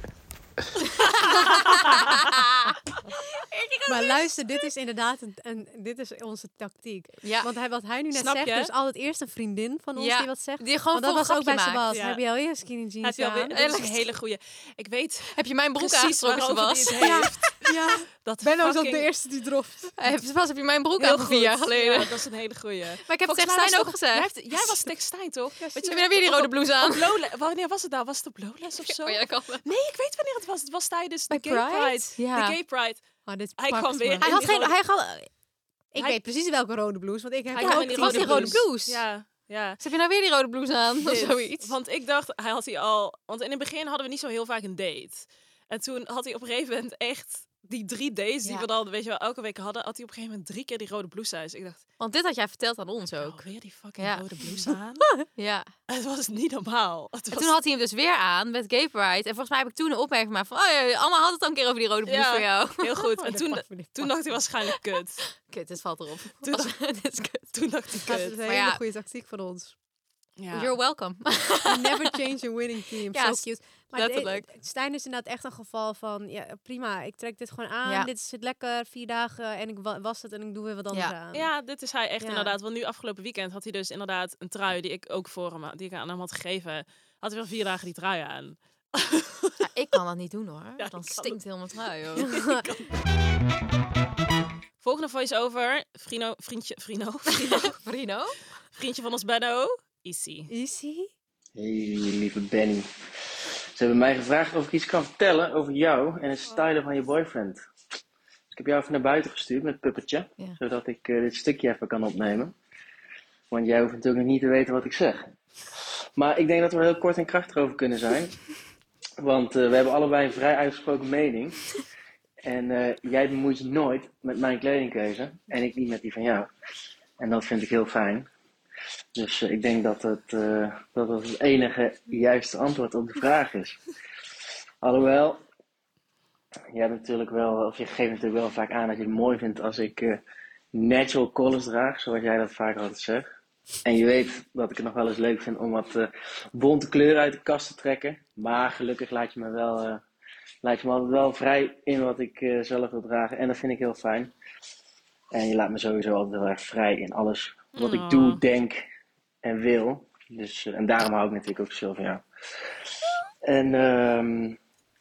[SPEAKER 3] Maar luister, dit is inderdaad een, een- dit is onze tactiek.
[SPEAKER 2] Ja.
[SPEAKER 3] Want hij, wat hij nu net
[SPEAKER 1] Snap
[SPEAKER 3] zegt,
[SPEAKER 1] je?
[SPEAKER 3] dus altijd eerst een vriendin van ons
[SPEAKER 2] Ja,
[SPEAKER 3] die wat zegt.
[SPEAKER 2] die gewoon
[SPEAKER 3] Want dat
[SPEAKER 2] voor een
[SPEAKER 3] was ook bij
[SPEAKER 2] grapje maakt.
[SPEAKER 3] Sebas.
[SPEAKER 1] Ja.
[SPEAKER 3] Heb je alweer skinny jeans
[SPEAKER 1] Heb je alweer,
[SPEAKER 3] aan?
[SPEAKER 1] dat is een hele goeie. Ik weet
[SPEAKER 2] heb je mijn broek
[SPEAKER 1] precies
[SPEAKER 2] aangetrokken,
[SPEAKER 1] waarover die
[SPEAKER 2] Sebas?
[SPEAKER 1] het heeft.
[SPEAKER 3] Ja,
[SPEAKER 1] Dat
[SPEAKER 3] Benno is ook de
[SPEAKER 1] fucking-
[SPEAKER 3] eerste die droft.
[SPEAKER 2] Heb- Sebas, heb je mijn broek
[SPEAKER 1] Heel
[SPEAKER 2] aan vier jaar
[SPEAKER 1] goed.
[SPEAKER 2] geleden?
[SPEAKER 1] Ja, dat is een hele goeie.
[SPEAKER 2] Maar ik heb het
[SPEAKER 1] Volgens
[SPEAKER 2] tegen
[SPEAKER 1] mij was
[SPEAKER 2] Stijn ook
[SPEAKER 1] toch-
[SPEAKER 2] gezegd.
[SPEAKER 1] Jij, hebt- jij was tegen Stijn, toch? Weet
[SPEAKER 2] Ik heb weer die rode blouse aan.
[SPEAKER 1] op Lowla- Wanneer was het nou? Was het op Lowlands of Oh, zo?
[SPEAKER 2] Oh ja, dat kan wel.
[SPEAKER 1] Nee, ik weet wanneer het was. Het was tijdens de
[SPEAKER 3] Bij
[SPEAKER 1] Gay
[SPEAKER 3] Pride?
[SPEAKER 1] Pride.
[SPEAKER 2] Ja.
[SPEAKER 1] De Gay Pride.
[SPEAKER 3] Oh, dit
[SPEAKER 1] Hij
[SPEAKER 3] pakt
[SPEAKER 1] kwam
[SPEAKER 3] me.
[SPEAKER 1] weer.
[SPEAKER 3] Hij
[SPEAKER 1] in
[SPEAKER 3] had
[SPEAKER 1] die
[SPEAKER 3] geen...
[SPEAKER 1] rode-
[SPEAKER 3] Hij had, ik
[SPEAKER 1] Hij-
[SPEAKER 3] weet precies welke rode blouse, want ik heb
[SPEAKER 1] Hij
[SPEAKER 3] ook
[SPEAKER 1] kwam
[SPEAKER 3] die
[SPEAKER 1] in die
[SPEAKER 2] was die
[SPEAKER 3] rode
[SPEAKER 2] rode
[SPEAKER 3] blouse.
[SPEAKER 2] blouse.
[SPEAKER 1] Ja, ja.
[SPEAKER 2] Ze heb je nou weer die rode blouse aan? Dus- Of
[SPEAKER 1] Dit.
[SPEAKER 2] zoiets.
[SPEAKER 1] Want ik dacht, hij had hij al... Want in het begin hadden we niet zo heel vaak een date. En toen had hij op een gegeven moment echt... Die drie dates die
[SPEAKER 2] Ja.
[SPEAKER 1] we dan, weet je wel, elke week hadden... had hij op een gegeven moment drie keer die rode blouse aan. Dus ik dacht,
[SPEAKER 2] Want dit had jij verteld aan ons
[SPEAKER 1] ook
[SPEAKER 2] ook.
[SPEAKER 1] weer die fucking
[SPEAKER 2] Ja.
[SPEAKER 1] rode blouse aan?
[SPEAKER 2] Ja.
[SPEAKER 1] het was niet normaal. Het
[SPEAKER 2] En
[SPEAKER 1] was
[SPEAKER 2] toen had hij hem dus weer aan met Gay Pride. En volgens mij heb ik toen een opmerking gemaakt van... Oh ja, Anna had het al een keer over die rode blouse
[SPEAKER 1] Ja.
[SPEAKER 2] voor jou.
[SPEAKER 1] heel goed.
[SPEAKER 3] Oh,
[SPEAKER 1] En
[SPEAKER 3] dit
[SPEAKER 1] toen,
[SPEAKER 3] pakt me, dit
[SPEAKER 1] toen
[SPEAKER 3] pakt
[SPEAKER 1] dacht hij waarschijnlijk kut.
[SPEAKER 2] Kut, dit valt erop.
[SPEAKER 1] Toen-
[SPEAKER 2] dit is kut.
[SPEAKER 1] Toen dacht hij
[SPEAKER 3] Dat is
[SPEAKER 1] kut.
[SPEAKER 3] een
[SPEAKER 2] Maar
[SPEAKER 3] hele
[SPEAKER 2] ja.
[SPEAKER 3] goede tactiek van ons.
[SPEAKER 1] Ja.
[SPEAKER 2] You're welcome.
[SPEAKER 3] Never change a winning team.
[SPEAKER 2] Ja,
[SPEAKER 3] so
[SPEAKER 2] s-
[SPEAKER 3] cute.
[SPEAKER 2] letterlijk.
[SPEAKER 3] dit- Stijn is inderdaad echt een geval van, ja, prima, ik trek dit gewoon aan.
[SPEAKER 2] Ja.
[SPEAKER 3] Dit zit lekker, vier dagen en ik wa- was het en ik doe weer wat anders
[SPEAKER 2] Ja.
[SPEAKER 3] aan.
[SPEAKER 1] Ja, dit is hij echt
[SPEAKER 3] Ja.
[SPEAKER 1] inderdaad. Want nu afgelopen weekend had hij dus inderdaad een trui die ik ook voor hem, ha- die ik aan hem had gegeven. Had hij wel vier dagen die trui aan.
[SPEAKER 2] Ja, ik kan dat niet doen hoor.
[SPEAKER 1] ik kan
[SPEAKER 2] Dan
[SPEAKER 1] het.
[SPEAKER 2] stinkt heel mijn trui hoor.
[SPEAKER 1] Volgende voice over, Frino, vriendje, Frino, Frino,
[SPEAKER 2] Bruno?
[SPEAKER 1] vriendje van ons Benno, Issy.
[SPEAKER 3] Easy.
[SPEAKER 6] Hey, lieve Benny. Ze hebben mij gevraagd of ik iets kan vertellen over jou en het stylen van je boyfriend. Dus ik heb jou even naar buiten gestuurd met het puppetje,
[SPEAKER 2] Ja.
[SPEAKER 6] zodat ik eh, dit stukje even kan opnemen. Want jij hoeft natuurlijk nog niet te weten wat ik zeg. Maar ik denk dat we er heel kort en krachtig over kunnen zijn. Want eh, we hebben allebei een vrij uitgesproken mening. En eh, jij bemoeit je nooit met mijn kledingkeuze en ik niet met die van jou. En dat vind ik heel fijn. Dus eh, ik denk dat het, eh, dat het het enige juiste antwoord op de vraag is. Alhoewel, je, hebt natuurlijk wel, of je geeft natuurlijk wel vaak aan dat je het mooi vindt als ik eh, natural colors draag, zoals jij dat vaak altijd zegt. En je weet dat ik het nog wel eens leuk vind om wat eh, bonte kleuren uit de kast te trekken. Maar gelukkig laat je me, wel, eh, laat je me altijd wel vrij in wat ik eh, zelf wil dragen. En dat vind ik heel fijn. En je laat me sowieso altijd heel erg vrij in alles wat ik doe,
[SPEAKER 1] Aw.
[SPEAKER 6] denk en wil. Dus, eh, en daarom hou ik natuurlijk ook zo van jou. En ehm,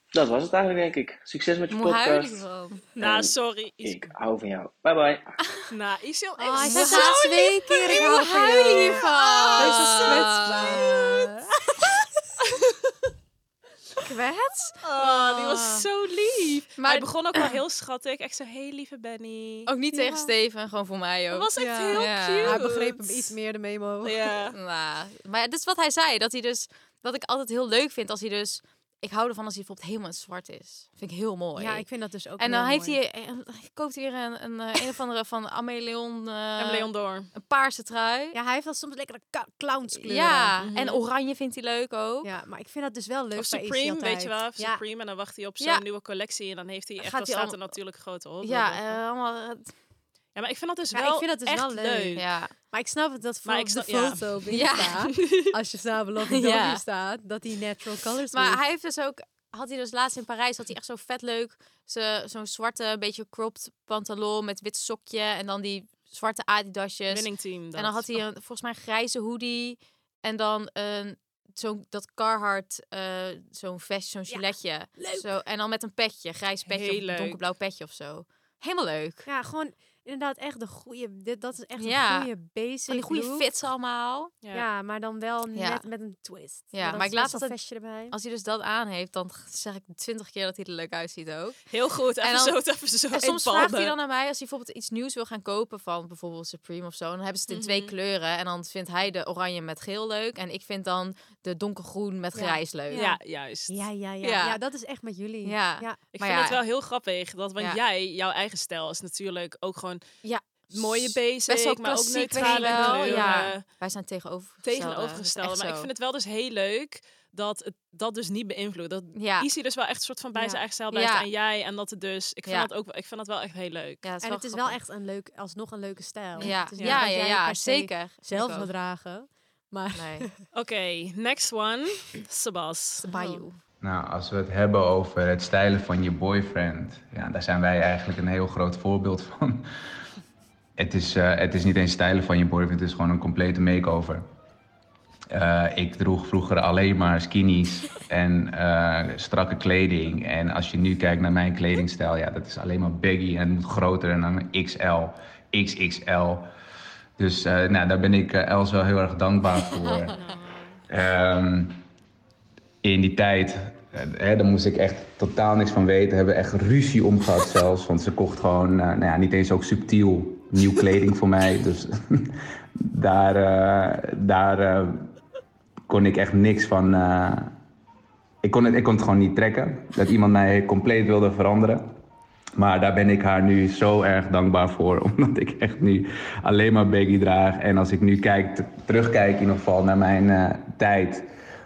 [SPEAKER 6] dat was het eigenlijk, denk ik. Succes met je
[SPEAKER 2] Moet huilen
[SPEAKER 6] podcast.
[SPEAKER 2] gewoon.
[SPEAKER 1] Nou,
[SPEAKER 6] En
[SPEAKER 1] sorry, Issy.
[SPEAKER 6] Ik hou van jou. Bye bye.
[SPEAKER 1] Nou, Issy al
[SPEAKER 3] Oh, hij
[SPEAKER 1] echt
[SPEAKER 3] zei
[SPEAKER 1] zo-
[SPEAKER 3] zelfs twee keer ik hou van jou. Hij is zo kwetsbaar.
[SPEAKER 2] Kwets?
[SPEAKER 1] Oh, die was zo lief. Maar
[SPEAKER 2] Maar-
[SPEAKER 1] hij begon ook wel heel schattig. Echt zo, hey lieve Benny.
[SPEAKER 2] Ook niet tegen Steven, gewoon voor mij
[SPEAKER 1] dat
[SPEAKER 2] ook.
[SPEAKER 1] was echt
[SPEAKER 3] Oh, Ja.
[SPEAKER 1] heel
[SPEAKER 2] Ja.
[SPEAKER 1] cute.
[SPEAKER 3] Hij begreep hem iets meer, de memo.
[SPEAKER 1] Ja.
[SPEAKER 2] Nou, maar dat is wat hij zei. Dat hij dus, wat ik altijd heel leuk vind, als hij dus, ik hou ervan als hij bijvoorbeeld helemaal in zwart is. Vind ik heel mooi.
[SPEAKER 3] Ja, ik vind dat dus ook
[SPEAKER 2] en dan
[SPEAKER 3] heel
[SPEAKER 2] heeft
[SPEAKER 3] mooi.
[SPEAKER 2] hij, en- koopt hij weer een, een, eh, een of andere van Ameleon, eh,
[SPEAKER 1] En Leon door.
[SPEAKER 2] een paarse trui.
[SPEAKER 3] Ja, hij heeft wel soms lekkere ka- clownskleuren.
[SPEAKER 2] Ja,
[SPEAKER 1] Mhm.
[SPEAKER 2] en oranje vindt hij leuk ook.
[SPEAKER 3] Ja, maar ik vind dat dus wel leuk
[SPEAKER 1] Of
[SPEAKER 3] bij Izzy
[SPEAKER 1] Supreme, weet
[SPEAKER 3] altijd.
[SPEAKER 1] je wel. Of
[SPEAKER 3] Ja.
[SPEAKER 1] Supreme. En dan wacht hij op zo'n
[SPEAKER 2] Ja.
[SPEAKER 1] nieuwe collectie. En dan heeft hij echt,
[SPEAKER 2] Gaat
[SPEAKER 1] dan
[SPEAKER 2] hij
[SPEAKER 1] staat er
[SPEAKER 2] allemaal-
[SPEAKER 1] natuurlijk grote op.
[SPEAKER 2] Ja, eh, allemaal. eh,
[SPEAKER 1] Ja, maar ik vind dat dus
[SPEAKER 3] Ja, ik
[SPEAKER 1] wel
[SPEAKER 3] vind dat dus
[SPEAKER 1] echt
[SPEAKER 3] wel leuk.
[SPEAKER 2] Ja.
[SPEAKER 3] Maar ik snap het dat voor
[SPEAKER 1] Maar
[SPEAKER 3] op
[SPEAKER 1] ik
[SPEAKER 3] de
[SPEAKER 1] snap- ja.
[SPEAKER 3] foto op
[SPEAKER 2] Ja.
[SPEAKER 3] Insta, als je samen Love
[SPEAKER 2] Ja.
[SPEAKER 3] ja. staat, dat hij natural colors
[SPEAKER 2] Maar
[SPEAKER 3] doet.
[SPEAKER 2] hij heeft dus ook, had hij dus laatst in Parijs, had hij echt zo vet leuk, ze- zo'n zwarte, beetje cropped pantalon met wit sokje en dan die zwarte Adidasjes.
[SPEAKER 1] Winning team.
[SPEAKER 2] En dan had hij een, volgens mij een grijze hoodie. En dan een, zo'n, dat Carhartt, eh, zo'n vest, zo'n giletje.
[SPEAKER 3] leuk.
[SPEAKER 2] Zo, en dan met een petje, grijs petje
[SPEAKER 1] Heel
[SPEAKER 2] of een
[SPEAKER 1] leuk.
[SPEAKER 2] donkerblauw petje of zo. Helemaal leuk.
[SPEAKER 3] Ja, gewoon inderdaad echt de goede. Dit, dat is echt
[SPEAKER 2] Ja.
[SPEAKER 3] een goede basic.
[SPEAKER 2] Van die goede
[SPEAKER 3] look.
[SPEAKER 2] fits allemaal.
[SPEAKER 3] Ja.
[SPEAKER 1] Ja.
[SPEAKER 3] maar dan wel
[SPEAKER 2] Ja.
[SPEAKER 3] net met een twist.
[SPEAKER 2] Ja,
[SPEAKER 3] dan
[SPEAKER 2] maar ik
[SPEAKER 3] best
[SPEAKER 2] laat
[SPEAKER 3] wel
[SPEAKER 2] altijd-
[SPEAKER 3] vestje erbij.
[SPEAKER 2] Als hij dus dat aan heeft, dan zeg ik twintig keer dat hij er leuk uitziet ook.
[SPEAKER 1] Heel goed. Even
[SPEAKER 2] En dan-
[SPEAKER 1] zo, even zo.
[SPEAKER 2] En soms
[SPEAKER 1] ballen.
[SPEAKER 2] vraagt hij dan naar mij als hij bijvoorbeeld iets nieuws wil gaan kopen van bijvoorbeeld Supreme of zo. Dan hebben ze het in twee
[SPEAKER 1] Mhm.
[SPEAKER 2] kleuren. En dan vindt hij de oranje met geel leuk. En ik vind dan de donkergroen met
[SPEAKER 3] Ja.
[SPEAKER 2] grijs leuk.
[SPEAKER 1] Ja, juist.
[SPEAKER 3] Ja, ja, ja, ja.
[SPEAKER 2] Ja.
[SPEAKER 3] dat is echt met jullie.
[SPEAKER 2] Ja.
[SPEAKER 3] ja.
[SPEAKER 1] Ik
[SPEAKER 2] Maar
[SPEAKER 1] vind
[SPEAKER 2] ja.
[SPEAKER 1] het wel heel grappig, dat, want
[SPEAKER 2] Ja.
[SPEAKER 1] jij, jouw eigen stijl is natuurlijk ook gewoon
[SPEAKER 2] Ja.
[SPEAKER 1] mooie basic,
[SPEAKER 2] Best wel
[SPEAKER 1] maar ook
[SPEAKER 2] klassiek,
[SPEAKER 1] neutrale
[SPEAKER 2] weet je wel.
[SPEAKER 1] kleuren.
[SPEAKER 2] Ja. Wij zijn tegenovergestelde.
[SPEAKER 1] Tegenovergestelde.
[SPEAKER 2] Dat is
[SPEAKER 1] Maar ik
[SPEAKER 2] echt
[SPEAKER 1] vind
[SPEAKER 2] zo.
[SPEAKER 1] het wel dus heel leuk dat het, dat dus niet beïnvloedt. Dat
[SPEAKER 2] Ja,
[SPEAKER 1] Easy dus wel echt een soort van bij
[SPEAKER 3] Ja.
[SPEAKER 1] zijn eigen stijl blijft
[SPEAKER 2] Ja.
[SPEAKER 1] en jij en dat het dus. Ik vind,
[SPEAKER 2] Ja.
[SPEAKER 1] dat, ook, ik vind dat wel echt heel leuk.
[SPEAKER 2] ja
[SPEAKER 3] En het is wel echt een leuk, alsnog een leuke stijl.
[SPEAKER 2] grappig. Ja,
[SPEAKER 3] Het is niet
[SPEAKER 2] ja,
[SPEAKER 3] dat
[SPEAKER 2] ja,
[SPEAKER 3] jij
[SPEAKER 2] ja,
[SPEAKER 3] per se
[SPEAKER 2] zeker.
[SPEAKER 3] Zelf
[SPEAKER 2] Ik
[SPEAKER 3] wil
[SPEAKER 2] ook.
[SPEAKER 3] dragen. Maar
[SPEAKER 2] Nee,
[SPEAKER 1] Oké, next one. Sebas.
[SPEAKER 3] Oh.
[SPEAKER 2] Bayou.
[SPEAKER 7] Nou, als we het hebben over het stijlen van je boyfriend, ja, daar zijn wij eigenlijk een heel groot voorbeeld van. Het is, eh, het is niet eens stijlen van je boyfriend, het is gewoon een complete makeover. Eh, ik droeg vroeger alleen maar skinnies en eh, strakke kleding. En als je nu kijkt naar mijn kledingstijl, ja, dat is alleen maar baggy en het moet groter en dan XL, XXL. Dus eh, nou, daar ben ik eh, Els wel heel erg dankbaar voor. Ehm, in die tijd, eh, hè, daar moest ik echt totaal niks van weten. Hebben we echt ruzie om gehad zelfs. Want ze kocht gewoon, eh, nou ja, niet eens ook subtiel nieuw kleding voor mij. Dus daar, eh, daar eh, kon ik echt niks van. eh, ik, kon het, ik kon het gewoon niet trekken. Dat iemand mij compleet wilde veranderen. Maar daar ben ik haar nu zo erg dankbaar voor. Omdat ik echt nu alleen maar baggy draag. En als ik nu kijk, t- terugkijk in ieder geval naar mijn eh, tijd.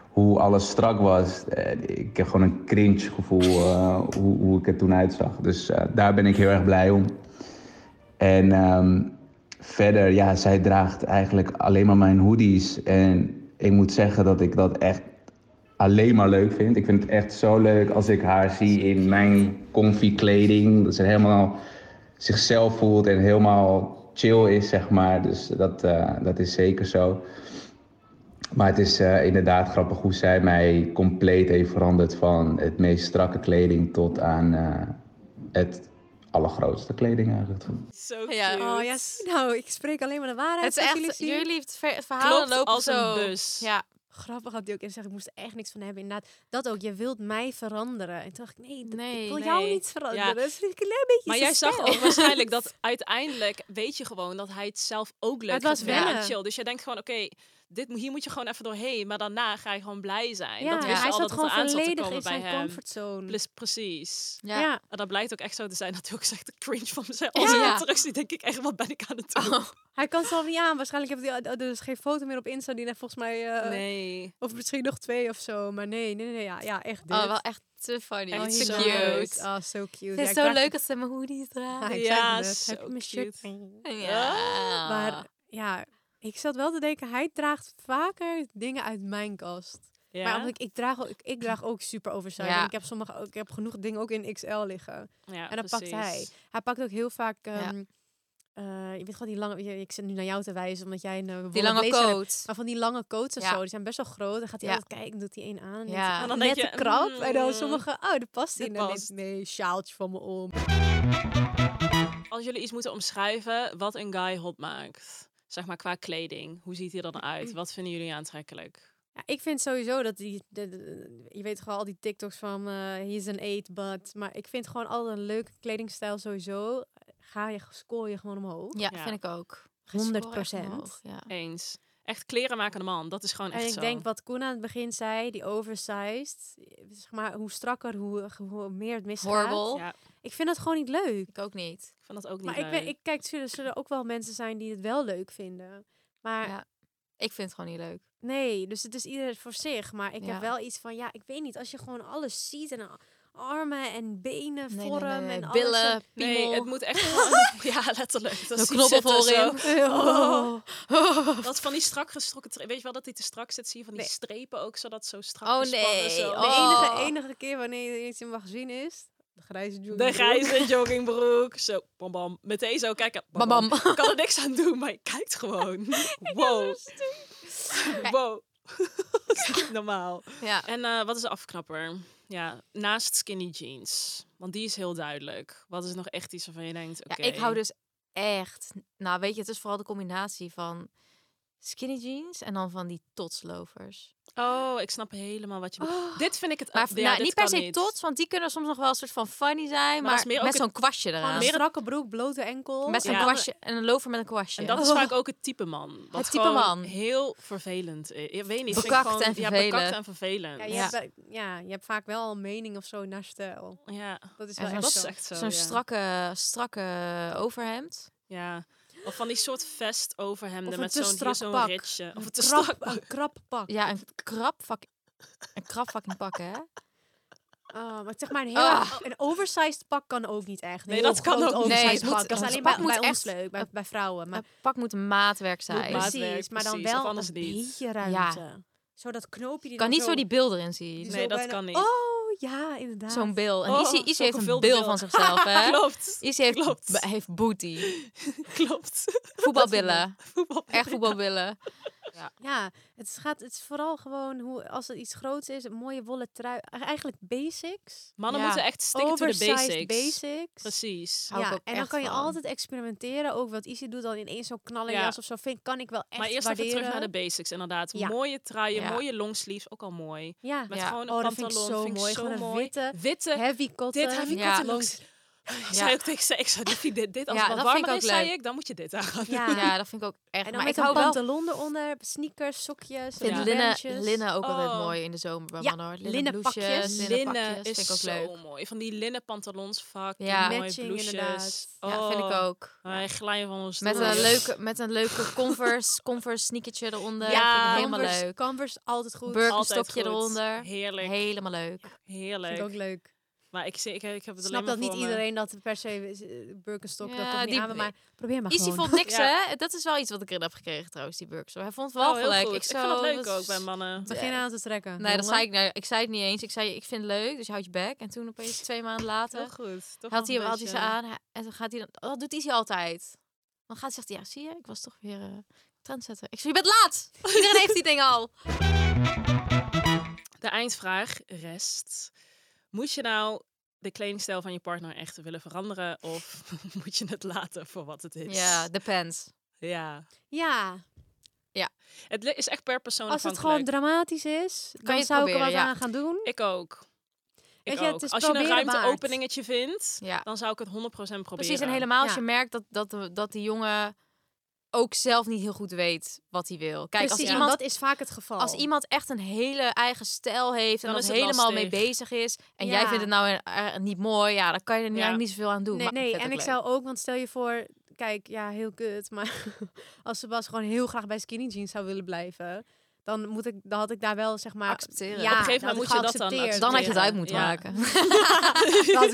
[SPEAKER 7] Hoe alles strak was. eh, ik heb gewoon een cringe gevoel eh, hoe, hoe ik er toen uitzag. Dus eh, daar ben ik heel erg blij om. En ehm, verder, ja, zij draagt eigenlijk alleen maar mijn hoodies. En ik moet zeggen dat ik dat echt alleen maar leuk vind. Ik vind het echt zo leuk als ik haar zie in mijn comfy kleding. Dat ze helemaal zichzelf voelt en helemaal chill is, zeg maar. Dus dat, eh, dat is zeker zo. Maar het is eh, inderdaad grappig hoe zij mij compleet heeft veranderd van het meest strakke kleding tot aan eh, het allergrootste kleding eigenlijk.
[SPEAKER 1] Zo cute.
[SPEAKER 2] Ja.
[SPEAKER 3] oh ja, zie nou, ik spreek alleen maar de waarheid.
[SPEAKER 2] Het is
[SPEAKER 3] zoals
[SPEAKER 2] echt,
[SPEAKER 3] zien.
[SPEAKER 2] jullie ver- verhalen
[SPEAKER 1] Klopt
[SPEAKER 2] lopen
[SPEAKER 1] als een
[SPEAKER 2] zo.
[SPEAKER 1] bus.
[SPEAKER 2] Ja,
[SPEAKER 3] grappig had die ook in zeggen. Ik moest er echt niks van hebben. Inderdaad, dat ook. Je wilt mij veranderen. En toen dacht ik, nee, dat- ik
[SPEAKER 2] Nee,
[SPEAKER 3] wil jou
[SPEAKER 1] nee.
[SPEAKER 3] niet veranderen.
[SPEAKER 1] Ja.
[SPEAKER 3] Dat is een klein beetje
[SPEAKER 1] Maar
[SPEAKER 3] zijn
[SPEAKER 1] jij zag
[SPEAKER 3] stijl.
[SPEAKER 1] ook waarschijnlijk dat uiteindelijk weet je gewoon dat hij het zelf ook leuk
[SPEAKER 3] Het was
[SPEAKER 1] vindt en
[SPEAKER 3] wennen.
[SPEAKER 1] chill. Dus jij denkt gewoon, oké, dit moet- hier moet je gewoon even doorheen. Maar daarna ga je gewoon blij zijn.
[SPEAKER 3] Ja,
[SPEAKER 1] dat wist
[SPEAKER 3] hij
[SPEAKER 1] al
[SPEAKER 3] zat
[SPEAKER 1] dat
[SPEAKER 3] gewoon
[SPEAKER 1] het eraan zat te
[SPEAKER 3] volledig
[SPEAKER 1] komen
[SPEAKER 3] in
[SPEAKER 1] bij
[SPEAKER 3] zijn
[SPEAKER 1] hem.
[SPEAKER 3] comfortzone.
[SPEAKER 1] Plus, precies.
[SPEAKER 2] ja.
[SPEAKER 3] ja.
[SPEAKER 1] En dat blijkt ook echt zo te zijn. Dat hij ook zegt, de cringe van mezelf.
[SPEAKER 2] Ja.
[SPEAKER 1] Als ik
[SPEAKER 2] Ja.
[SPEAKER 1] hem terugzie, denk ik echt, wat ben ik aan het doen?
[SPEAKER 3] Hij kan zelf niet aan. Waarschijnlijk heeft hij oh, er is geen foto meer op Insta die net volgens mij. eh,
[SPEAKER 1] Nee.
[SPEAKER 3] Of misschien nog twee of zo. Maar nee, nee, nee. nee, Ja, ja echt. Dit.
[SPEAKER 2] Oh, wel echt te funny.
[SPEAKER 1] Echt
[SPEAKER 2] Echt
[SPEAKER 1] zo
[SPEAKER 2] zo
[SPEAKER 1] leuk.
[SPEAKER 2] cute.
[SPEAKER 3] Leuk. Ah, zo cute.
[SPEAKER 2] Het is zo leuk dat ze mijn hoodies
[SPEAKER 3] Ja,
[SPEAKER 2] dragen.
[SPEAKER 3] Ah, ik
[SPEAKER 1] Ja,
[SPEAKER 3] zag het.
[SPEAKER 1] zo
[SPEAKER 3] Heb je mijn shirt
[SPEAKER 1] cute.
[SPEAKER 3] aan?
[SPEAKER 2] Ja.
[SPEAKER 3] Ah.
[SPEAKER 2] Ah.
[SPEAKER 3] Maar ja, ik zat wel te denken, hij draagt vaker dingen uit mijn kast.
[SPEAKER 1] Ja.
[SPEAKER 3] Maar omdat ik, ik, draag ook, ik, ik draag ook super oversized.
[SPEAKER 2] Ja.
[SPEAKER 3] En ik heb, sommige, ook- ik heb genoeg dingen ook in XL liggen.
[SPEAKER 1] Ja,
[SPEAKER 3] en dan pakt hij.
[SPEAKER 1] precies.
[SPEAKER 3] Hij pakt ook heel vaak...
[SPEAKER 2] Ja.
[SPEAKER 3] ehm, eh, je weet gewoon die lange... je- ik zit nu naar jou te wijzen, omdat jij een eh,
[SPEAKER 2] die
[SPEAKER 3] wollen
[SPEAKER 2] lange
[SPEAKER 3] blazer hebt.
[SPEAKER 2] coat.
[SPEAKER 3] Maar van die lange coats en
[SPEAKER 2] Ja.
[SPEAKER 3] zo, die zijn best wel groot. Dan gaat hij
[SPEAKER 2] Ja.
[SPEAKER 3] altijd kijken, doet hij één aan. En
[SPEAKER 2] Ja.
[SPEAKER 3] ja.
[SPEAKER 1] En
[SPEAKER 3] dan
[SPEAKER 1] dan
[SPEAKER 3] net
[SPEAKER 1] denk
[SPEAKER 3] te
[SPEAKER 1] je,
[SPEAKER 3] krap. En dan
[SPEAKER 1] mm,
[SPEAKER 3] sommige, oh, dat past
[SPEAKER 1] dit
[SPEAKER 3] in. En dan
[SPEAKER 1] past.
[SPEAKER 3] denk ik, nee, sjaaltje van me om.
[SPEAKER 1] Als jullie iets moeten omschrijven wat een guy hot maakt. Zeg maar qua kleding. Hoe ziet hij er dan uit? Wat vinden jullie aantrekkelijk?
[SPEAKER 3] Ja, ik vind sowieso dat die, de- de- je weet gewoon al die TikToks van eh he's an eight but, maar ik vind gewoon altijd een leuke kledingstijl sowieso. eh, Ga je score je gewoon omhoog.
[SPEAKER 2] Ja,
[SPEAKER 1] Ja.
[SPEAKER 2] vind ik ook.
[SPEAKER 3] 100%.
[SPEAKER 2] Gescoord omhoog, Ja.
[SPEAKER 1] Eens. Echt kleren maken de man. Dat is gewoon echt
[SPEAKER 3] En ik
[SPEAKER 1] zo.
[SPEAKER 3] denk wat Koen aan het begin zei, die oversized, zeg maar hoe strakker, hoe, hoe meer het misgaat.
[SPEAKER 2] Horrible.
[SPEAKER 1] Ja,
[SPEAKER 3] Ik vind dat gewoon niet leuk.
[SPEAKER 2] Ik ook niet.
[SPEAKER 1] ik vind dat ook niet
[SPEAKER 3] Maar ik, ben, ik kijk, er zullen ook wel mensen zijn die het wel leuk vinden. Maar
[SPEAKER 2] Ja. Ik vind het gewoon niet leuk.
[SPEAKER 3] Nee, dus het is ieder voor zich. Maar ik
[SPEAKER 2] Ja.
[SPEAKER 3] heb wel iets van, ja, ik weet niet. Als je gewoon alles ziet en a- armen en benen,
[SPEAKER 2] Nee, nee,
[SPEAKER 3] vorm
[SPEAKER 2] nee, nee.
[SPEAKER 3] en
[SPEAKER 2] Billen,
[SPEAKER 3] alles.
[SPEAKER 1] Nee,
[SPEAKER 2] piemel,
[SPEAKER 1] het moet echt gewoon... ja, letterlijk. Dat
[SPEAKER 2] een
[SPEAKER 1] is
[SPEAKER 2] knobbel voorin.
[SPEAKER 3] Oh.
[SPEAKER 1] Dat van die strak gestrokken... tra- Weet je wel dat hij te strak zit? Zie je van die
[SPEAKER 3] Nee.
[SPEAKER 1] strepen ook, zodat zo strak
[SPEAKER 2] Oh,
[SPEAKER 1] gespannen
[SPEAKER 2] nee.
[SPEAKER 1] Zo.
[SPEAKER 3] De
[SPEAKER 2] Oh.
[SPEAKER 3] enige, enige keer wanneer er iets in een magazine is, De grijze
[SPEAKER 1] De grijze joggingbroek. Zo, bam bam. Meteen zo kijken. Bam bam. Ik kan er niks aan doen, maar je kijkt gewoon. Wow. Wow. Dat is niet normaal.
[SPEAKER 2] Ja.
[SPEAKER 1] En eh, wat is de afknapper? Ja, naast skinny jeans. Want die is heel duidelijk. Wat is nog echt iets waarvan je denkt, oké.
[SPEAKER 2] Ja, ik hou dus echt. Nou, weet je, het is vooral de combinatie van skinny jeans en dan van die totslovers.
[SPEAKER 1] Oh, ik snap helemaal wat je bedoelt. Dit vind ik het...
[SPEAKER 2] Oh. Maar
[SPEAKER 1] Oh, ja,
[SPEAKER 2] nou,
[SPEAKER 1] dit
[SPEAKER 2] niet per
[SPEAKER 1] kan
[SPEAKER 2] se tots, want die kunnen soms nog wel een soort van funny zijn,
[SPEAKER 1] Maar dat
[SPEAKER 2] maar,
[SPEAKER 1] is meer ook
[SPEAKER 2] met
[SPEAKER 1] het-
[SPEAKER 2] zo'n kwastje
[SPEAKER 3] Gewoon
[SPEAKER 2] eraan.
[SPEAKER 3] een strakke broek, blote enkel.
[SPEAKER 2] Met zo'n
[SPEAKER 1] Ja.
[SPEAKER 2] kwastje en een lover met een kwastje.
[SPEAKER 1] En dat is
[SPEAKER 2] Oh.
[SPEAKER 1] vaak ook het type man. Wat
[SPEAKER 2] Het type
[SPEAKER 1] gewoon
[SPEAKER 2] man.
[SPEAKER 1] heel vervelend is. Ik weet niet. vind ik
[SPEAKER 2] Bekakt
[SPEAKER 1] gewoon-
[SPEAKER 2] en
[SPEAKER 1] Ja, bekakt
[SPEAKER 2] vervelend.
[SPEAKER 1] en vervelend.
[SPEAKER 3] Ja, je,
[SPEAKER 2] Ja.
[SPEAKER 3] Hebt, wel- ja, je hebt vaak wel een mening of zo naar stijl.
[SPEAKER 1] Ja,
[SPEAKER 3] Dat is
[SPEAKER 2] En
[SPEAKER 3] wel
[SPEAKER 2] zo'n
[SPEAKER 3] echt
[SPEAKER 1] dat
[SPEAKER 3] zo.
[SPEAKER 1] is echt zo.
[SPEAKER 2] Zo'n
[SPEAKER 1] ja.
[SPEAKER 2] strakke, strakke overhemd.
[SPEAKER 1] Ja. Of van die soort vest
[SPEAKER 3] Of
[SPEAKER 1] overhemden
[SPEAKER 3] een
[SPEAKER 1] met
[SPEAKER 3] te
[SPEAKER 1] zo'n hier
[SPEAKER 3] strak
[SPEAKER 1] zo'n
[SPEAKER 3] pak.
[SPEAKER 1] ritje. Of
[SPEAKER 3] Een
[SPEAKER 1] het te
[SPEAKER 3] krap-
[SPEAKER 1] strak.
[SPEAKER 3] Een krap pak.
[SPEAKER 2] Ja, een krap vak. Een krap fucking pak, hè?
[SPEAKER 3] Ah, maar zeg maar, een, heel,
[SPEAKER 2] Ah.
[SPEAKER 3] een oversized pak kan ook niet echt. Een
[SPEAKER 1] Nee,
[SPEAKER 3] heel
[SPEAKER 1] dat kan
[SPEAKER 3] groot
[SPEAKER 1] ook niet.
[SPEAKER 3] oversized
[SPEAKER 2] Nee, het moet-
[SPEAKER 3] pak. Dat is
[SPEAKER 2] het
[SPEAKER 3] alleen
[SPEAKER 2] pak
[SPEAKER 3] bij,
[SPEAKER 2] moet
[SPEAKER 3] bij ons
[SPEAKER 2] echt-
[SPEAKER 3] leuk, bij, bij vrouwen. Maar
[SPEAKER 2] Een pak moet een maatwerk zijn.
[SPEAKER 1] maatwerk
[SPEAKER 3] precies, maar dan
[SPEAKER 1] precies, of
[SPEAKER 3] wel
[SPEAKER 1] anders
[SPEAKER 3] een
[SPEAKER 1] niet.
[SPEAKER 3] beetje ruimte. Zo dat knoopje die
[SPEAKER 2] kan
[SPEAKER 3] dan
[SPEAKER 2] niet zo die bil erin zien.
[SPEAKER 3] die
[SPEAKER 1] Nee, dat
[SPEAKER 3] bijna-
[SPEAKER 1] kan niet.
[SPEAKER 3] Oh, ja, inderdaad.
[SPEAKER 2] Zo'n bil. En
[SPEAKER 1] Oh,
[SPEAKER 2] Izzy, Izzy
[SPEAKER 1] zo'n
[SPEAKER 2] heeft een
[SPEAKER 1] gevulde
[SPEAKER 2] bil
[SPEAKER 1] bil.
[SPEAKER 2] van zichzelf, hè?
[SPEAKER 1] Klopt.
[SPEAKER 2] Izzy heeft,
[SPEAKER 1] Klopt.
[SPEAKER 2] b- heeft booty.
[SPEAKER 1] Klopt.
[SPEAKER 2] Voetbalbillen.
[SPEAKER 1] Voetbal.
[SPEAKER 2] Echt voetbalbillen.
[SPEAKER 3] Ja, het is, gaat, het is vooral gewoon hoe, als het iets groots is, een mooie wollen trui. e- Eigenlijk basics.
[SPEAKER 1] Mannen
[SPEAKER 2] Ja.
[SPEAKER 1] moeten echt sticken to the
[SPEAKER 3] Oversized
[SPEAKER 1] basics.
[SPEAKER 3] basics.
[SPEAKER 1] Precies.
[SPEAKER 2] Hou ik
[SPEAKER 3] ja,
[SPEAKER 2] ook
[SPEAKER 3] en dan
[SPEAKER 2] echt
[SPEAKER 3] kan je
[SPEAKER 2] van.
[SPEAKER 3] altijd experimenteren. Ook wat Izzy doet, dan ineens zo'n knallenjas
[SPEAKER 1] Ja.
[SPEAKER 3] of zo. Vind, kan ik wel echt
[SPEAKER 1] maar eerst
[SPEAKER 3] waarderen.
[SPEAKER 1] even terug naar de basics, inderdaad.
[SPEAKER 3] Ja.
[SPEAKER 1] Mooie truien,
[SPEAKER 2] Ja.
[SPEAKER 1] mooie longsleeves, ook al mooi.
[SPEAKER 3] Ja,
[SPEAKER 1] Met
[SPEAKER 2] Ja.
[SPEAKER 1] gewoon een
[SPEAKER 3] Oh, dat vind ik
[SPEAKER 1] pantalon,
[SPEAKER 3] zo mooi. Gewoon een witte,
[SPEAKER 1] witte
[SPEAKER 3] heavy cotton.
[SPEAKER 1] Dit heavy
[SPEAKER 2] Ja.
[SPEAKER 1] cotton
[SPEAKER 3] Long-
[SPEAKER 1] looks. Ik zei ook tegen ze, ik zei, Liefie, dit, dit als
[SPEAKER 2] Ja,
[SPEAKER 1] het wat
[SPEAKER 2] dat vind ik
[SPEAKER 1] warmer is,
[SPEAKER 2] ook
[SPEAKER 1] zei
[SPEAKER 2] leuk.
[SPEAKER 1] ik, dan moet je dit aan gaan
[SPEAKER 3] Ja.
[SPEAKER 2] Ja, dat vind ik ook echt.
[SPEAKER 3] En dan
[SPEAKER 2] maar
[SPEAKER 3] met
[SPEAKER 2] ik
[SPEAKER 3] een
[SPEAKER 2] hou wel.
[SPEAKER 3] pantalon eronder, sneakers, sokjes,
[SPEAKER 2] Ik vind
[SPEAKER 3] ja.
[SPEAKER 2] linnen,
[SPEAKER 3] bandjes.
[SPEAKER 2] linnen ook altijd
[SPEAKER 1] Oh.
[SPEAKER 2] mooi in de zomer bij
[SPEAKER 3] Ja,
[SPEAKER 2] mannen hoor. Linnen,
[SPEAKER 3] linnen
[SPEAKER 2] blouses,
[SPEAKER 3] pakjes.
[SPEAKER 2] linnen
[SPEAKER 1] Linnen
[SPEAKER 2] pakjes
[SPEAKER 1] is
[SPEAKER 2] vind ik ook
[SPEAKER 1] zo
[SPEAKER 2] leuk.
[SPEAKER 1] mooi. Van die linnen pantalons vaak,
[SPEAKER 2] Ja.
[SPEAKER 1] ja. die mooie
[SPEAKER 3] Matching,
[SPEAKER 1] blouses.
[SPEAKER 3] inderdaad.
[SPEAKER 1] Oh,
[SPEAKER 2] Ja, vind ik ook.
[SPEAKER 1] Wij glijden van ons
[SPEAKER 2] Met
[SPEAKER 1] door.
[SPEAKER 2] een leuke, met een leuke Converse, Converse sneakertje eronder.
[SPEAKER 1] Ja.
[SPEAKER 2] vind ik helemaal
[SPEAKER 3] Converse,
[SPEAKER 2] leuk.
[SPEAKER 3] Converse altijd goed.
[SPEAKER 2] Burger-
[SPEAKER 1] Altijd
[SPEAKER 2] stokje
[SPEAKER 1] goed.
[SPEAKER 2] eronder.
[SPEAKER 1] Heerlijk,
[SPEAKER 2] Helemaal leuk.
[SPEAKER 3] Vind
[SPEAKER 1] heerlijk.
[SPEAKER 3] ik ook leuk.
[SPEAKER 1] Maar ik, zie- ik, ik heb
[SPEAKER 3] Ik
[SPEAKER 1] het
[SPEAKER 3] snap
[SPEAKER 1] alleen maar
[SPEAKER 3] dat niet
[SPEAKER 1] voor me.
[SPEAKER 3] iedereen dat per se eh, Birkenstock dat
[SPEAKER 2] Ja,
[SPEAKER 3] toch niet
[SPEAKER 2] die-
[SPEAKER 3] aan, wil, maar probeer maar
[SPEAKER 2] Izzy
[SPEAKER 3] gewoon.
[SPEAKER 2] vond niks,
[SPEAKER 1] Ja.
[SPEAKER 2] hè? Dat is wel iets wat ik erin heb gekregen trouwens, die Burks. Hij vond het wel
[SPEAKER 1] Oh, heel
[SPEAKER 2] gelijk.
[SPEAKER 1] goed. Ik,
[SPEAKER 2] zou- dus
[SPEAKER 1] vind het leuk
[SPEAKER 2] dat
[SPEAKER 1] ook bij mannen.
[SPEAKER 3] Begin aan te trekken.
[SPEAKER 2] eh, Nee, dat
[SPEAKER 3] jongen.
[SPEAKER 2] zei ik, nou, ik zei het niet eens. Ik zei, ik vind het leuk, dus je houdt je bek. En toen opeens twee maanden
[SPEAKER 1] Heel
[SPEAKER 2] later
[SPEAKER 1] goed. Toch
[SPEAKER 2] had hij, hem,
[SPEAKER 1] nog een
[SPEAKER 2] had hij ze
[SPEAKER 1] beetje-
[SPEAKER 2] aan. hij- En dan gaat hij dan, dat doet Izzy altijd. Dan gaat hij zegt, hij, ja, zie je, ik was toch weer eh trendsetter. Ik zei, je bent laat! Iedereen heeft die dingen al.
[SPEAKER 1] De eindvraag rest. Moet je nou de kledingstijl van je partner echt willen veranderen? Of moet je het laten voor wat het is?
[SPEAKER 2] Ja, depends.
[SPEAKER 1] ja.
[SPEAKER 3] Ja,
[SPEAKER 1] Het li- is echt per persoon
[SPEAKER 3] als het gewoon
[SPEAKER 1] afhankelijk.
[SPEAKER 3] dramatisch is,
[SPEAKER 2] je
[SPEAKER 3] dan
[SPEAKER 2] het
[SPEAKER 3] zou ik er wat
[SPEAKER 2] proberen, ja.
[SPEAKER 3] aan gaan doen.
[SPEAKER 1] Ik ook. Ik
[SPEAKER 3] Weet je, het
[SPEAKER 1] ook.
[SPEAKER 3] is
[SPEAKER 1] Als je een
[SPEAKER 3] proberen waard.
[SPEAKER 1] ruimteopeningetje vindt,
[SPEAKER 2] Ja.
[SPEAKER 1] dan zou ik het 100% proberen.
[SPEAKER 2] Precies, en helemaal als
[SPEAKER 3] Ja.
[SPEAKER 2] je merkt dat, dat, de- dat die jongen ook zelf niet heel goed weet wat hij wil. Kijk,
[SPEAKER 3] Precies,
[SPEAKER 2] als
[SPEAKER 3] en
[SPEAKER 2] iemand
[SPEAKER 3] dat is vaak het geval.
[SPEAKER 2] Als iemand echt een hele eigen stijl heeft en
[SPEAKER 1] Dan
[SPEAKER 2] dat
[SPEAKER 1] is het
[SPEAKER 2] helemaal mee
[SPEAKER 1] lastig.
[SPEAKER 2] bezig is. En
[SPEAKER 3] Ja.
[SPEAKER 2] jij vindt het nou eh, eh, niet mooi, ja, dan kan je er nu
[SPEAKER 1] Ja.
[SPEAKER 2] eigenlijk niet zoveel aan doen.
[SPEAKER 3] Nee,
[SPEAKER 2] maar
[SPEAKER 3] nee
[SPEAKER 2] vind het
[SPEAKER 3] en ik
[SPEAKER 2] ook leuk.
[SPEAKER 3] zou ook, want stel je voor, kijk, ja, heel kut, maar als Sebas gewoon heel graag bij skinny jeans zou willen blijven, dan moet ik, dan had ik daar wel zeg maar
[SPEAKER 2] Accepteren.
[SPEAKER 3] Ja,
[SPEAKER 2] Op
[SPEAKER 1] een gegeven
[SPEAKER 3] dan
[SPEAKER 1] moment
[SPEAKER 3] had ik
[SPEAKER 1] moet je dat dan
[SPEAKER 3] geaccepteerd.
[SPEAKER 2] Dan had je het
[SPEAKER 1] Ja.
[SPEAKER 2] uit moeten
[SPEAKER 1] Ja.
[SPEAKER 2] maken.
[SPEAKER 3] Dan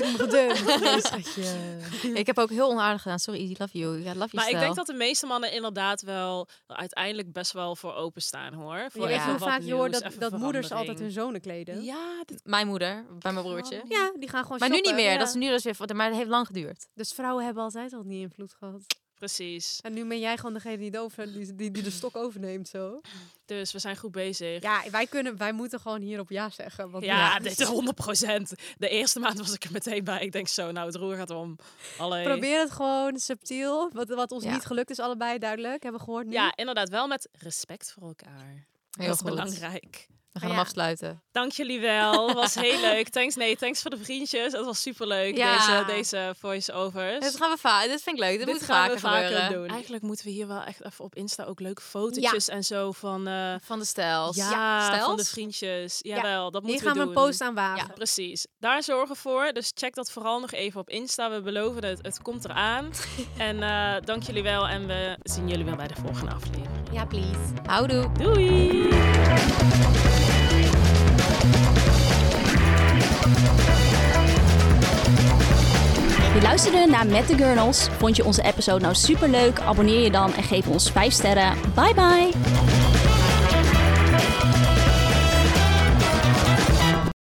[SPEAKER 3] had ik hem gedumpt. Nee, schatje.
[SPEAKER 2] ik heb ook heel onaardig gedaan. Sorry, Easy, love you. Ja, love you
[SPEAKER 1] Maar ik
[SPEAKER 2] stijl.
[SPEAKER 1] denk dat de meeste mannen inderdaad wel uiteindelijk best wel voor openstaan hoor. Voor
[SPEAKER 3] Je weet
[SPEAKER 1] even
[SPEAKER 3] hoe
[SPEAKER 1] wat
[SPEAKER 3] vaak je hoort
[SPEAKER 1] nieuws,
[SPEAKER 3] dat,
[SPEAKER 1] even
[SPEAKER 3] dat moeders altijd
[SPEAKER 1] verandering.
[SPEAKER 3] hun zonen kleden.
[SPEAKER 1] Ja, dit-
[SPEAKER 2] Mijn moeder, bij mijn broertje.
[SPEAKER 3] Ja, die gaan gewoon
[SPEAKER 2] Maar nu niet
[SPEAKER 3] shoppen,
[SPEAKER 2] meer.
[SPEAKER 3] ja.
[SPEAKER 2] Dat is nu dus weer... Maar dat heeft lang geduurd.
[SPEAKER 3] Dus vrouwen hebben altijd al niet invloed gehad.
[SPEAKER 1] precies.
[SPEAKER 3] En nu ben jij gewoon degene die, de over, die, die, die de stok overneemt zo.
[SPEAKER 1] Dus we zijn goed bezig.
[SPEAKER 3] Ja, wij, kunnen, wij moeten gewoon hierop ja zeggen. Want
[SPEAKER 1] Ja, dit is 100%. De eerste maand was ik er meteen bij. Ik denk zo, nou het roer gaat om. Allee.
[SPEAKER 3] Probeer het gewoon subtiel. Wat, wat ons
[SPEAKER 2] Ja.
[SPEAKER 3] niet gelukt is, allebei duidelijk. Hebben we gehoord nu.
[SPEAKER 1] Ja, inderdaad. Wel met respect voor elkaar.
[SPEAKER 2] Heel
[SPEAKER 1] dat is
[SPEAKER 2] goed.
[SPEAKER 1] belangrijk.
[SPEAKER 2] We
[SPEAKER 3] Maar
[SPEAKER 2] gaan
[SPEAKER 3] ja.
[SPEAKER 2] hem afsluiten.
[SPEAKER 1] Dank jullie wel. was heel leuk. Thanks, nee, thanks voor de vriendjes. Het was superleuk,
[SPEAKER 2] Ja.
[SPEAKER 1] deze, deze voice-overs.
[SPEAKER 2] Dit gaan we vaak. Dit vind ik leuk. Dit, moet
[SPEAKER 1] Dus gaan
[SPEAKER 2] vaker,
[SPEAKER 1] we vaker
[SPEAKER 2] gebeuren.
[SPEAKER 1] doen. Eigenlijk moeten we hier wel echt even op Insta ook leuke fotootjes en zo van, eh,
[SPEAKER 2] Van de stijls.
[SPEAKER 1] ja,
[SPEAKER 2] stijls?
[SPEAKER 1] van de vriendjes. Jawel, dat
[SPEAKER 3] Hier
[SPEAKER 1] moeten
[SPEAKER 3] gaan we
[SPEAKER 1] we
[SPEAKER 3] een
[SPEAKER 1] doen.
[SPEAKER 3] post aan wagen.
[SPEAKER 1] Precies. Daar zorgen we voor. Dus check dat vooral nog even op Insta. We beloven het. Het komt eraan. en eh, dank jullie wel. En we zien jullie wel bij de volgende aflevering.
[SPEAKER 3] Ja, please.
[SPEAKER 2] Houdoe.
[SPEAKER 1] Doei!
[SPEAKER 8] Je luisterde naar Met the Gurnals. Vond je onze episode nou superleuk? Abonneer je dan en geef ons 5 sterren. Bye bye!